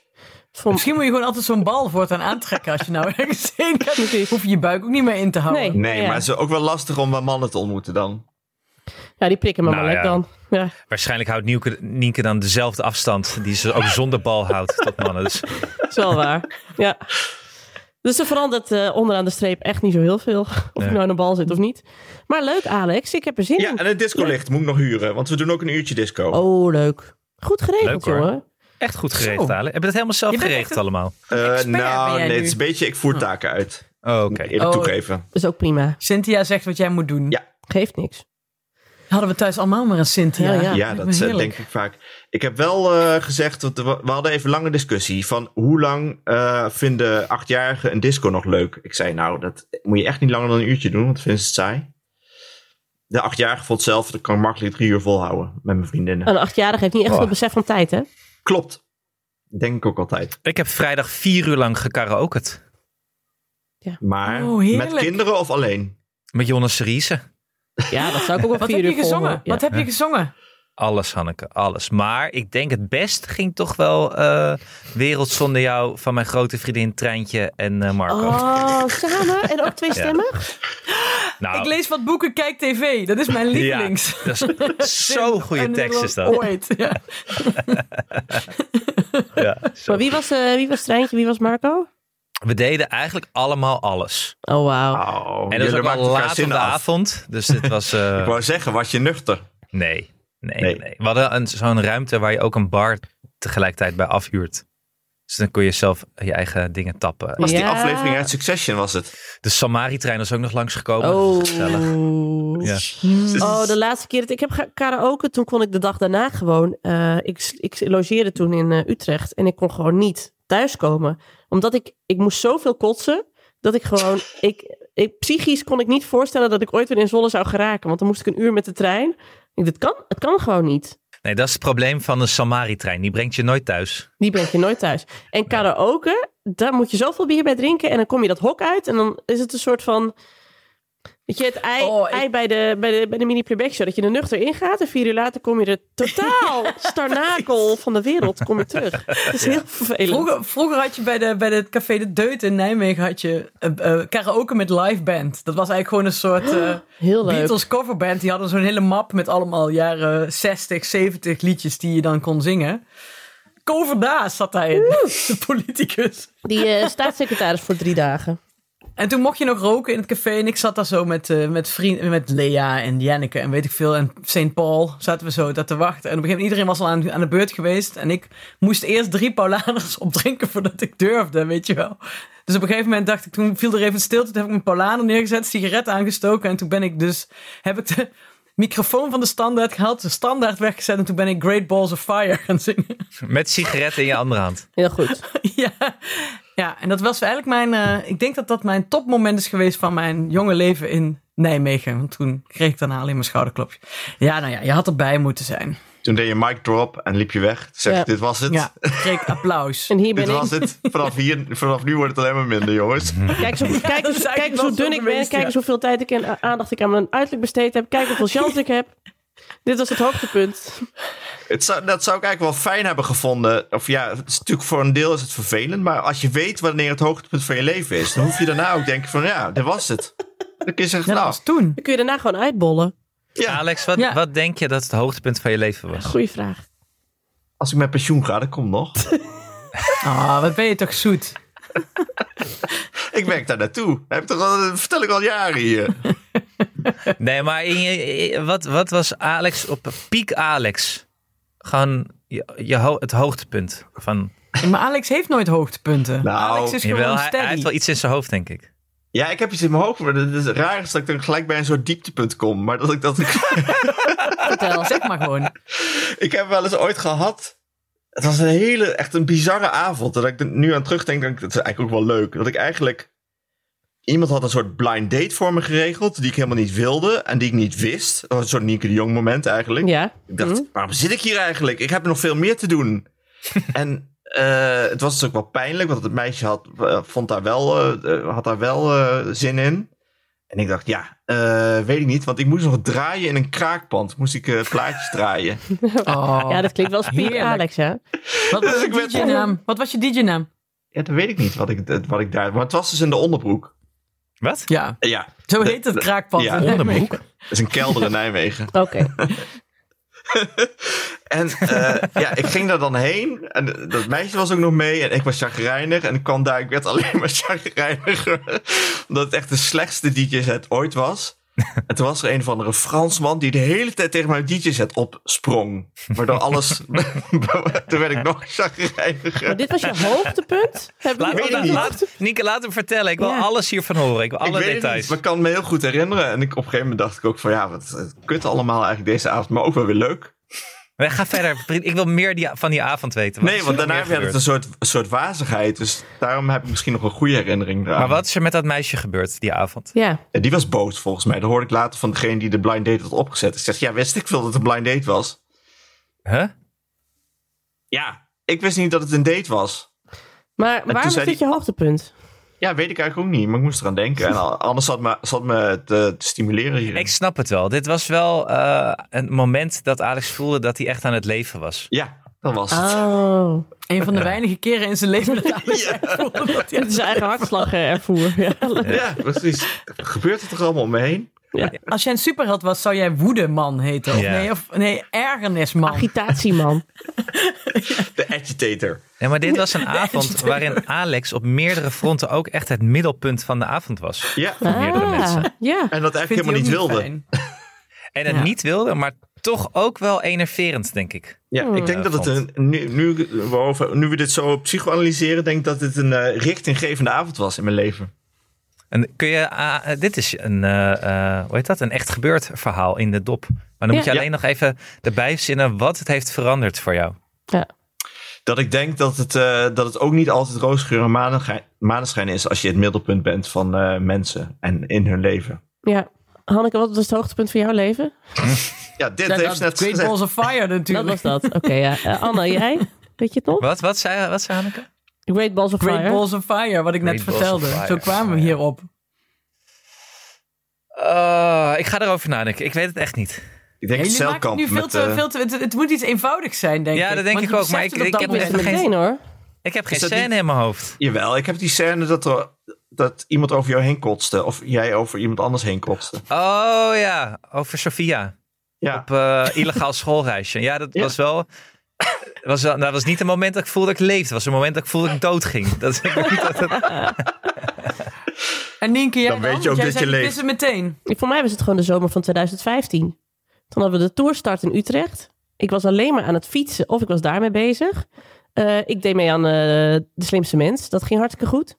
Vond-
Misschien moet je gewoon altijd zo'n bal voortaan aantrekken als je nou ergens heen gaat.
Precies.
Hoef je je buik ook niet meer in te houden.
Nee.
Nee,
Ja.
maar het is ook wel lastig om waar mannen te ontmoeten dan.
Ja, die prikken me
Nou,
wel
ja.
lekker dan. Ja.
Waarschijnlijk houdt Nienke, Nienke dan dezelfde afstand die ze ook zonder bal houdt tot mannen. Dus
is wel waar. Ja. Dus er verandert eh, onderaan de streep echt niet zo heel veel. Of je
Nee.
nou in een bal zit of niet. Maar leuk, Alex. Ik heb er zin
Ja,
in.
en het discolicht moet ik nog huren, want we doen ook een uurtje disco.
Oh, leuk. Goed geregeld,
Leuk, hoor.
jongen.
echt goed geregeld, Alex. Hebben we dat helemaal zelf
Je bent echt
geregeld
een-
allemaal?
Eh,
expert ben
nou,
jij
nee, het
nu.
is een beetje, ik voer taken uit.
Oh,
Moet
Oké.
ik eerlijk
Oh.
toegeven.
Dat is ook prima.
Cynthia zegt wat jij moet doen.
Ja.
Geeft niks.
Hadden we thuis allemaal maar een Cynthia.
Ja, ja.
Ja,
Lijkt
dat
me
eh,
heerlijk.
denk ik vaak. Ik heb wel eh, gezegd, want we we hadden even een lange discussie van hoe lang eh, vinden achtjarigen een disco nog leuk? Ik zei, nou, dat moet je echt niet langer dan een uurtje doen, want vinden ze het saai. De achtjarige vond zelf, dat kan ik makkelijk drie uur volhouden met mijn vriendinnen.
Een achtjarige heeft niet echt
Oh.
veel besef van tijd, hè?
Klopt. Denk ik ook altijd.
Ik heb vrijdag vier uur lang gekaraokerd.
Maar
Oh, heerlijk.
met kinderen of alleen?
Met Jonas Seriese.
Ja, dat zou ik ook wel
Wat
vier
heb
uur
je gezongen?
volhouden. Ja.
Wat heb je gezongen?
Alles, Hanneke, alles. Maar ik denk het best ging toch wel eh Wereld zonder jou van mijn grote vriendin Treintje en eh, Marco.
Oh, samen? En ook twee stemmen?
nou,
Ik lees wat boeken, kijk tv. Dat is mijn lievelings.
Ja, dat is zo'n goede
En
tekst is dat.
Ooit. Ja.
Ja, zo.
Maar wie was, eh, wie was Treintje, wie was Marco?
We deden eigenlijk allemaal alles.
Oh, wauw.
Oh,
En dat was
jullie
ook
maakten
al
elkaar
laat in de
af.
avond. Dus dit was... eh,
Ik wou zeggen, was je nuchter?
nee, nee, nee,
Nee.
We hadden een- zo'n ruimte waar je ook een bar tegelijkertijd bij afhuurt. Dus dan kon je zelf je eigen dingen tappen.
Was die
Ja.
aflevering uit Succession, was het?
De Samari-trein was ook nog langsgekomen.
Oh.
Gezellig. Ja.
Dus
Oh, de laatste keer dat ik heb ge- karaoke, toen kon ik de dag daarna gewoon. eh, ik, ik logeerde toen in eh, Utrecht en ik kon gewoon niet thuiskomen. Omdat ik, ik moest zoveel kotsen, dat ik gewoon. Ik, ik, psychisch kon ik niet voorstellen dat ik ooit weer in Zwolle zou geraken. Want dan moest ik een uur met de trein. Ik, dat kan, het kan gewoon niet.
Nee, dat is het probleem van de Samari-trein. Die brengt je nooit thuis.
Die breng je nooit thuis. En karaoke, daar moet je zoveel bier bij drinken. En dan kom je dat hok uit. En dan is het een soort van. Weet je, het ei,
Oh, ik-
ei bij, de, bij, de, bij de mini playback show. Dat je er nuchter in gaat. En vier uur later kom je er totaal starnakel van de wereld kom je terug. Dat is heel vervelend.
Vroeger, vroeger had je bij, de, bij het café De Deut in Nijmegen had je, eh, eh, karaoke met live band. Dat was eigenlijk gewoon een soort eh,
heel leuk.
Beatles coverband. Die hadden zo'n hele map met allemaal jaren 60, 70 liedjes die je dan kon zingen. Coverdaas zat hij in, de politicus.
Die eh, staatssecretaris voor drie dagen.
En toen mocht je nog roken in het café. En ik zat daar zo met, eh, met, vriend, met Lea en Janneke en weet ik veel. En St. Paul zaten we zo daar te wachten. En op een gegeven moment, iedereen was al aan, aan de beurt geweest. En ik moest eerst drie Paulaners opdrinken voordat ik durfde, weet je wel. Dus op een gegeven moment dacht ik, toen viel er even stilte. Toen heb ik mijn Paulaner neergezet, sigaret aangestoken. En toen ben ik dus, heb ik de microfoon van de standaard gehaald. De standaard weggezet. En toen ben ik Great Balls of Fire gaan zingen.
Met sigaret in je andere hand.
Heel goed.
Ja. ja, en dat was eigenlijk mijn. eh, ik denk dat dat mijn topmoment is geweest van mijn jonge leven in Nijmegen. Want toen kreeg ik daarna alleen mijn schouderklopje. Ja, nou ja, je had erbij moeten zijn.
Toen deed je mic drop en liep je weg. Zeg,
Ja.
dit was het.
Ja, kreeg ik applaus.
En hier ben
Dit was
ik.
het. Vanaf, hier, vanaf nu wordt het alleen maar minder, jongens.
Kijk, zo, kijk,
dat is
eens-
eigenlijk
kijk eens
wel
hoe
zo
dun ik ben.
geweest,
Kijk
ja.
eens hoeveel tijd ik en a- aandacht ik aan mijn uiterlijk besteed heb. Kijk hoeveel chance ik heb. Dit was het hoogtepunt.
Het zou, dat zou ik eigenlijk wel fijn hebben gevonden. Of ja, het is natuurlijk voor een deel is het vervelend. Maar als je weet wanneer het hoogtepunt van je leven is, dan hoef je daarna ook te denken van ja, dit was het. Dan kun je zeggen,
Dat
nou,
was toen.
Dan kun je daarna gewoon uitbollen.
ja,
Alex, wat,
Ja.
wat denk je dat het hoogtepunt van je leven was?
Goeie vraag.
als ik met pensioen ga, dat komt nog.
Ah, wat ben je toch zoet?
Ik werk daar naartoe. Heb ik toch al, dat vertel ik al jaren hier.
Nee, maar in je- in- wat, wat was Alex op piek Alex? Gewoon je, je ho- het hoogtepunt van.
Maar Alex heeft nooit hoogtepunten.
Nou,
Alex is gewoon
Jawel, hij, hij heeft
steady.
wel iets in zijn hoofd, denk ik.
Ja, ik heb iets in mijn hoofd. Maar het is het raar is dat ik dan gelijk bij een soort dieptepunt kom. Maar dat ik dat.
Vertel, zeg maar gewoon.
Ik heb wel eens ooit gehad. Het was een hele, echt een bizarre avond. Dat ik er nu aan terugdenk, denk ik, dat is eigenlijk ook wel leuk. Dat ik eigenlijk. Iemand had een soort blind date voor me geregeld. Die ik helemaal niet wilde en die ik niet wist. Dat was een soort Nienke de Jong moment eigenlijk.
Ja.
Ik dacht, waarom zit ik hier eigenlijk? Ik heb nog veel meer te doen. en eh, het was dus ook wel pijnlijk, want het meisje had, eh, vond daar wel, eh, eh, had daar wel eh, zin in. En ik dacht, ja, Eh, weet ik niet, want ik moest nog draaien in een kraakpand. Moest ik eh, plaatjes draaien.
Oh.
Ja, dat klinkt wel speed,
Heerlijk.
Alex, hè?
Wat was
Dus
je
ik werd-
DJ-naam? Wat was je DJ-naam?
Ja, dat weet ik niet wat ik, wat ik daar... Maar het was dus in de onderbroek.
Wat?
Ja,
Eh, Ja,
zo
De-
heet het kraakpand.
ja,
in Nijmegen.
onderbroek?
dat is een kelder in Nijmegen.
Oké.
En eh, ja, ik ging daar dan heen. En dat meisje was ook nog mee. En ik was chagrijnig. En ik kwam daar, ik werd alleen maar chagrijniger. Omdat het echt de slechtste DJ-set ooit was. En toen was er een of andere Fransman die de hele tijd tegen mijn DJ-set opsprong. Waardoor alles... toen werd ik nog chagrijniger.
Maar dit was je hoogtepunt? Hebben
Laat,
jullie
weet
laat,
het niet.
laat- Nienke, laat hem vertellen. Ik wil
Ja.
alles hiervan horen. Ik wil alle
ik weet het
details.
niet, maar ik kan me heel goed herinneren. En ik, op een gegeven moment dacht ik ook van... Ja, wat eh, kut allemaal eigenlijk deze avond. Maar ook wel weer leuk.
Maar Ga verder. Prit. Ik wil meer die, van die avond weten. Wat
Nee,
is
want
er
daarna
meer
werd het
gebeurd?
een soort, soort wazigheid. Dus daarom heb ik misschien nog een goede herinnering eraan.
Maar wat is er met dat meisje gebeurd die avond?
Ja.
En die was boos volgens mij. Dat hoorde ik later van degene die de blind date had opgezet. Ik zeg, ja, wist ik veel dat het een blind date was?
Huh?
Ja. Ik wist niet dat het een date was.
Maar
toen
waar was
zei
dit je
die-
hoogtepunt?
Ja, weet ik eigenlijk ook niet, maar ik moest eraan denken. En al- anders zat me, zat me te, te stimuleren hier.
Ik snap het wel. Dit was wel eh, een moment dat Alex voelde dat hij echt aan het leven was.
Ja, dat was het.
Oh.
Een van de weinige keren in zijn leven dat hij voelde dat hij-
Het is eigen hartslag eh, ervoer. Ja.
Oh.
Ja, precies. Gebeurt het er allemaal om me heen?
Als jij een superheld was, zou jij woedeman heten. Of
Ja.
nee, of, nee, ergernisman.
Agitatieman.
De agitator.
Ja, maar dit was een avond waarin Alex op meerdere fronten ook echt het middelpunt van de avond was.
Ja.
meerdere
Ah.
mensen.
Ah, Ja.
En dat eigenlijk
Vindt hij
helemaal niet
ook
wilde.
fijn.
En het
Ja.
niet wilde, maar toch ook wel enerverend, denk ik.
Ja, ik denk
Ja,
dat het
vond.
een, nu, nu, we over- nu we dit zo psychoanalyseren, denk ik dat het een eh, richtinggevende avond was in mijn leven.
En kun je, ah, eh, dit is een, eh, eh, hoe heet dat? Een echt gebeurd verhaal in de dop. Maar dan moet je
Ja.
alleen nog even erbij verzinnen wat het heeft veranderd voor jou.
Dat ik denk dat het, eh, dat het ook niet altijd roosgeur en maneschijn- maneschijn is als je het middelpunt bent van eh, mensen en in hun leven.
ja. Hanneke, wat was het hoogtepunt van jouw leven?
Ja, dit
Ja, nou,
heeft
dat
ze net
Great
gezegd.
Balls of Fire
Dat
natuurlijk.
was dat. Oké, ja. Eh, Anna, jij? Weet je het nog?
Wat, wat, zei, wat zei Hanneke?
Great Balls of
Great
Fire.
Balls of Fire, wat ik net
Great Balls
vertelde.
of Fire.
Zo kwamen we
Oh, ja.
hierop.
Eh, ik ga erover nadenken. Ik weet het echt niet.
Ik denk het
Jullie maken het
celkamp
nu veel
met...
te,
eh,
veel te, het, het moet iets eenvoudigs zijn, denk
Ja,
ik.
dat denk
Want
ik
je
ook, maar
beseft
ik-
het op dat
ik heb
Ik wist
moment
het
geen-
meteen hoor.
Ik heb geen
Is dat
scène
niet-
in mijn hoofd.
Jawel, ik heb die scène dat, er, dat iemand over jou heen kotste. Of jij over iemand anders heen kotste.
Oh ja, over Sofia.
Ja,
Op eh, illegaal schoolreisje. Ja, dat
Ja.
was wel... Was, wel- nou, dat was niet een moment dat ik voelde dat ik leefde. Het was een moment dat ik voelde dat ik doodging. Dat is- ik weet niet wat het-
En Nienke, jij
Dan weet
Want
je ook
jij
dat
zei,
je
ik
leeft.
wist het meteen.
Ik- Voor mij was het gewoon de zomer van 2015. Toen hadden we de tourstart in Utrecht. Ik was alleen maar aan het fietsen of ik was daarmee bezig. Eh, ik deed mee aan eh, De Slimste Mens. Dat ging hartstikke goed.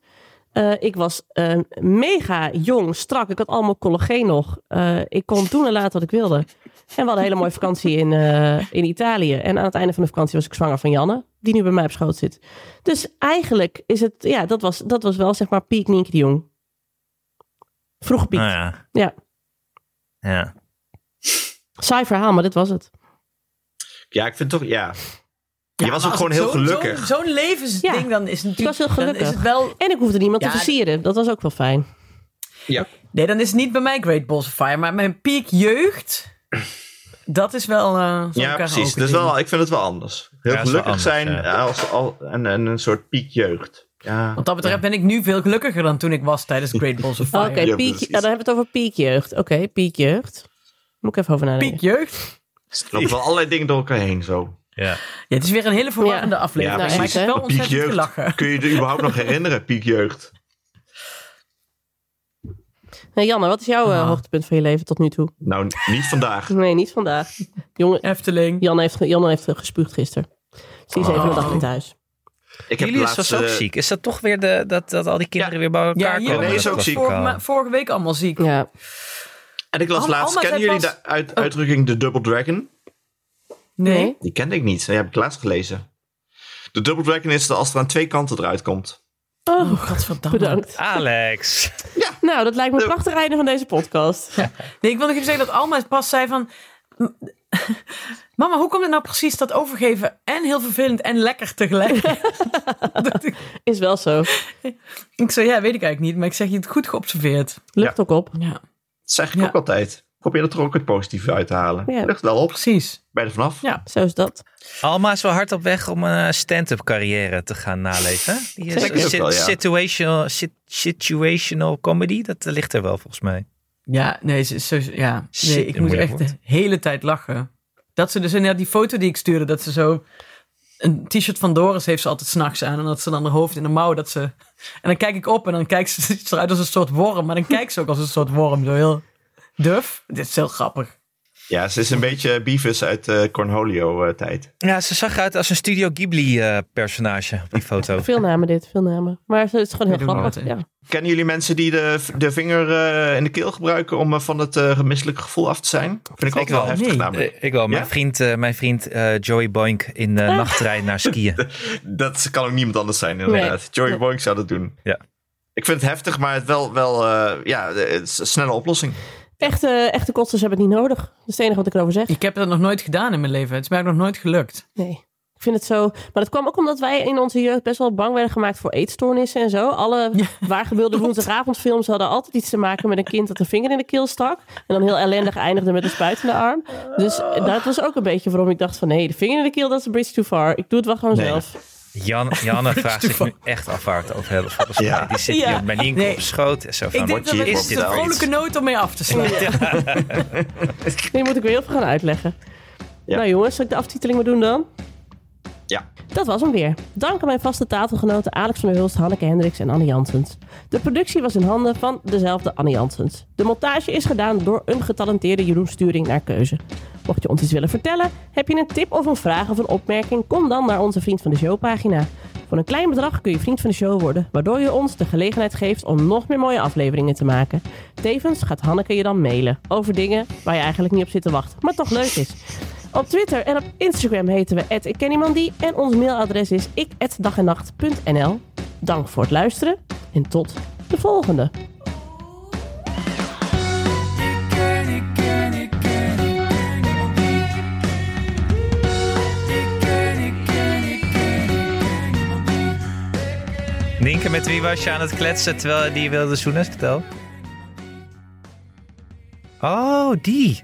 Eh, ik was eh, mega jong, strak. Ik had allemaal collageen nog. Eh, ik kon doen en laten wat ik wilde. En we hadden een hele mooie vakantie in, eh, in Italië. En aan het einde van de vakantie was ik zwanger van Janne. Die nu bij mij op schoot zit. Dus eigenlijk is het... Ja, dat was, dat was wel zeg maar piek Nienke de Jong. Vroeg piek.
Nou ja.
Ja.
Ja.
Saai verhaal, maar dit was het.
ja ik vind toch... Ja. Je was ook
Maar als
gewoon
het
heel
zo'n-
gelukkig.
Zo'n zo'n levensding,
Ja.
dan is het
Ik was
natuurlijk...
heel
Dan is
gelukkig.
het wel...
En ik hoefde niemand
Ja, Ah,
te versieren. Dat was ook wel fijn.
Nee, dan is het niet bij mij Great Balls of Fire, maar mijn piek jeugd... Dat is wel... eh, zo'n
ja,
karaoke
precies. Dat is
ding.
wel, ik vind het wel anders. Heel
Ja, het is wel
gelukkig zijn
anders, ja.
als, al, en, en een soort piekjeugd. Ja.
Wat dat betreft ben ik nu veel gelukkiger dan toen ik was tijdens Great Balls of Fire.
Oké,
Ja,
piek,
precies.
ja, dan hebben we het over piekjeugd. Oké, piekjeugd. Moet ik even over nadenken.
Piek jeugd.
Er lopen wel allerlei dingen door elkaar heen zo.
ja.
Ja, het is weer een hele verwarrende
Ja.
aflevering.
Ja,
maar ik
precies.
heb wel
Maar Piek
ontzettend
jeugd.
Oh, gelachen.
Kun je je überhaupt nog herinneren, piekjeugd?
Nee, Janne, wat is jouw eh,
Ah.
hoogtepunt van je leven tot nu toe?
Nou, niet vandaag.
Nee, niet vandaag. Jongen, eh,
Efteling.
Janne heeft, ge- Janne heeft eh, gespuugd gisteren. Dus die is
Oh.
even een dag in thuis.
Ik heb
Julius
laatst,
was ook
eh,
ziek. Is dat toch weer de, dat, dat al die kinderen weer bij elkaar
hier
komen?
nee, is
Dat
ook
was
ziek.
ook
Vorige,
al-
ma- vorige week allemaal ziek.
Ja.
En ik las
Alma-
laatst,
Alma
kennen
zei
jullie
pas- Oh.
de uit- uitdrukking de Double Dragon?
Nee.
Nee?
Die kende ik niet, die heb ik laatst gelezen. De Double Dragon is dat als er aan twee kanten eruit komt.
Oh,
Oh, godverdamme.
bedankt.
Alex.
Nou, dat lijkt me een prachtig einde van deze podcast.
Nee, ik wil nog even zeggen dat Alma pas zei van... Mama, hoe komt het nou precies dat overgeven en heel vervelend en lekker tegelijk? Dat ik,
Is wel zo.
ik zei, ja, weet ik eigenlijk niet, maar ik zeg je het goed geobserveerd.
Lukt ook op.
Ja.
Dat zeg ik
Ja.
ook altijd. Probeer er toch ook het positieve uit te halen.
Ja.
Lucht wel op.
Precies.
Bij er vanaf.
Ja.
Zo is dat.
Alma is wel hard op weg om een eh, stand-up carrière te gaan naleven. hè? Die is
Zeker.
sit-
Ook wel, ja.
situational, sit- situational comedy, dat eh, ligt er wel volgens mij.
Ja, nee, ze- ze- ze- ja.
Shit,
nee ik
een
moet
moeilijk
echt
woord.
de hele tijd lachen. Dat ze dus inderdaad die foto die ik stuurde, dat ze zo... Een t-shirt van Doris heeft ze altijd s'nachts aan. En dat ze dan haar hoofd in de mouw, dat ze... En dan kijk ik op en dan kijkt ze ziet ze eruit als een soort worm. Maar dan kijkt ze ook als een soort worm. Zo heel duf. Dit is heel grappig.
Ja, ze is een beetje Beavis uit eh Cornholio-tijd.
Ja, ze zag eruit als een Studio Ghibli-personage op die foto.
Veel namen dit, veel namen. Maar het is gewoon
Ik
heel
doe
grappig.
nooit, hè.
Ja.
Kennen jullie mensen die de, de vinger eh, in de keel gebruiken om eh, van het eh, misselijke gevoel af te zijn? Vind ik
Ik
ook wel
wel.
heftig
Nee.
namelijk.
Eh, Ik wel. Mijn
Ja?
vriend, eh, mijn vriend eh, Joey Boink in de nachttrein naar skiën.
Dat kan ook niemand anders zijn inderdaad.
Nee.
Joey
Nee.
Boink zou dat doen.
Ja.
Ik vind het heftig, maar het wel, wel eh, ja, het is een snelle oplossing.
Echte, echte kotsers hebben het niet nodig. Dat is het enige wat ik erover zeg.
Ik heb dat nog nooit gedaan in mijn leven. Het is mij ook nog nooit gelukt.
Nee. Ik vind het zo. Maar dat kwam ook omdat wij in onze jeugd best wel bang werden gemaakt voor eetstoornissen en zo. Alle waargebeelde woensdagavondfilms hadden altijd iets te maken met een kind dat een vinger in de keel stak. En dan heel ellendig eindigde met een spuit in de arm. Dus dat was ook een beetje waarom ik dacht van nee, de vinger in de keel, dat is een bridge too far. Ik doe het wel gewoon
Nee.
zelf.
Jan, Janne vraagt zich nu echt af waar het over hebben. Volgens
Ja.
mij. Die zit
Ja.
hier bij Nienke
Nee.
op schoot. en Zo van,
Ik denk dat
Nou, je
het
hier
is
op
een
staat?
vrolijke noot om mee af te sluiten.
Nu moet ik weer heel veel gaan uitleggen.
Ja.
Nou jongens, zal ik de aftiteling maar doen dan?
Ja.
Dat was hem weer. Dank aan mijn vaste tafelgenoten Alex van der Hulst, Hanneke Hendricks en Anne Jansens. De productie was in handen van dezelfde Anne Jansens. De montage is gedaan door een getalenteerde Jeroen Sturing naar keuze. Mocht je ons iets willen vertellen, heb je een tip of een vraag of een opmerking, kom dan naar onze Vriend van de Show pagina. Voor een klein bedrag kun je Vriend van de Show worden, waardoor je ons de gelegenheid geeft om nog meer mooie afleveringen te maken. Tevens gaat Hanneke je dan mailen over dingen waar je eigenlijk niet op zit te wachten, maar toch leuk is. Op Twitter en op Instagram heten we @ikkenniemandie en ons mailadres is ik@dagennacht.nl. Dank voor het luisteren en tot de volgende.
Nienke, met wie was je aan het kletsen terwijl die wilde zoenen? Vertel. Oh, die.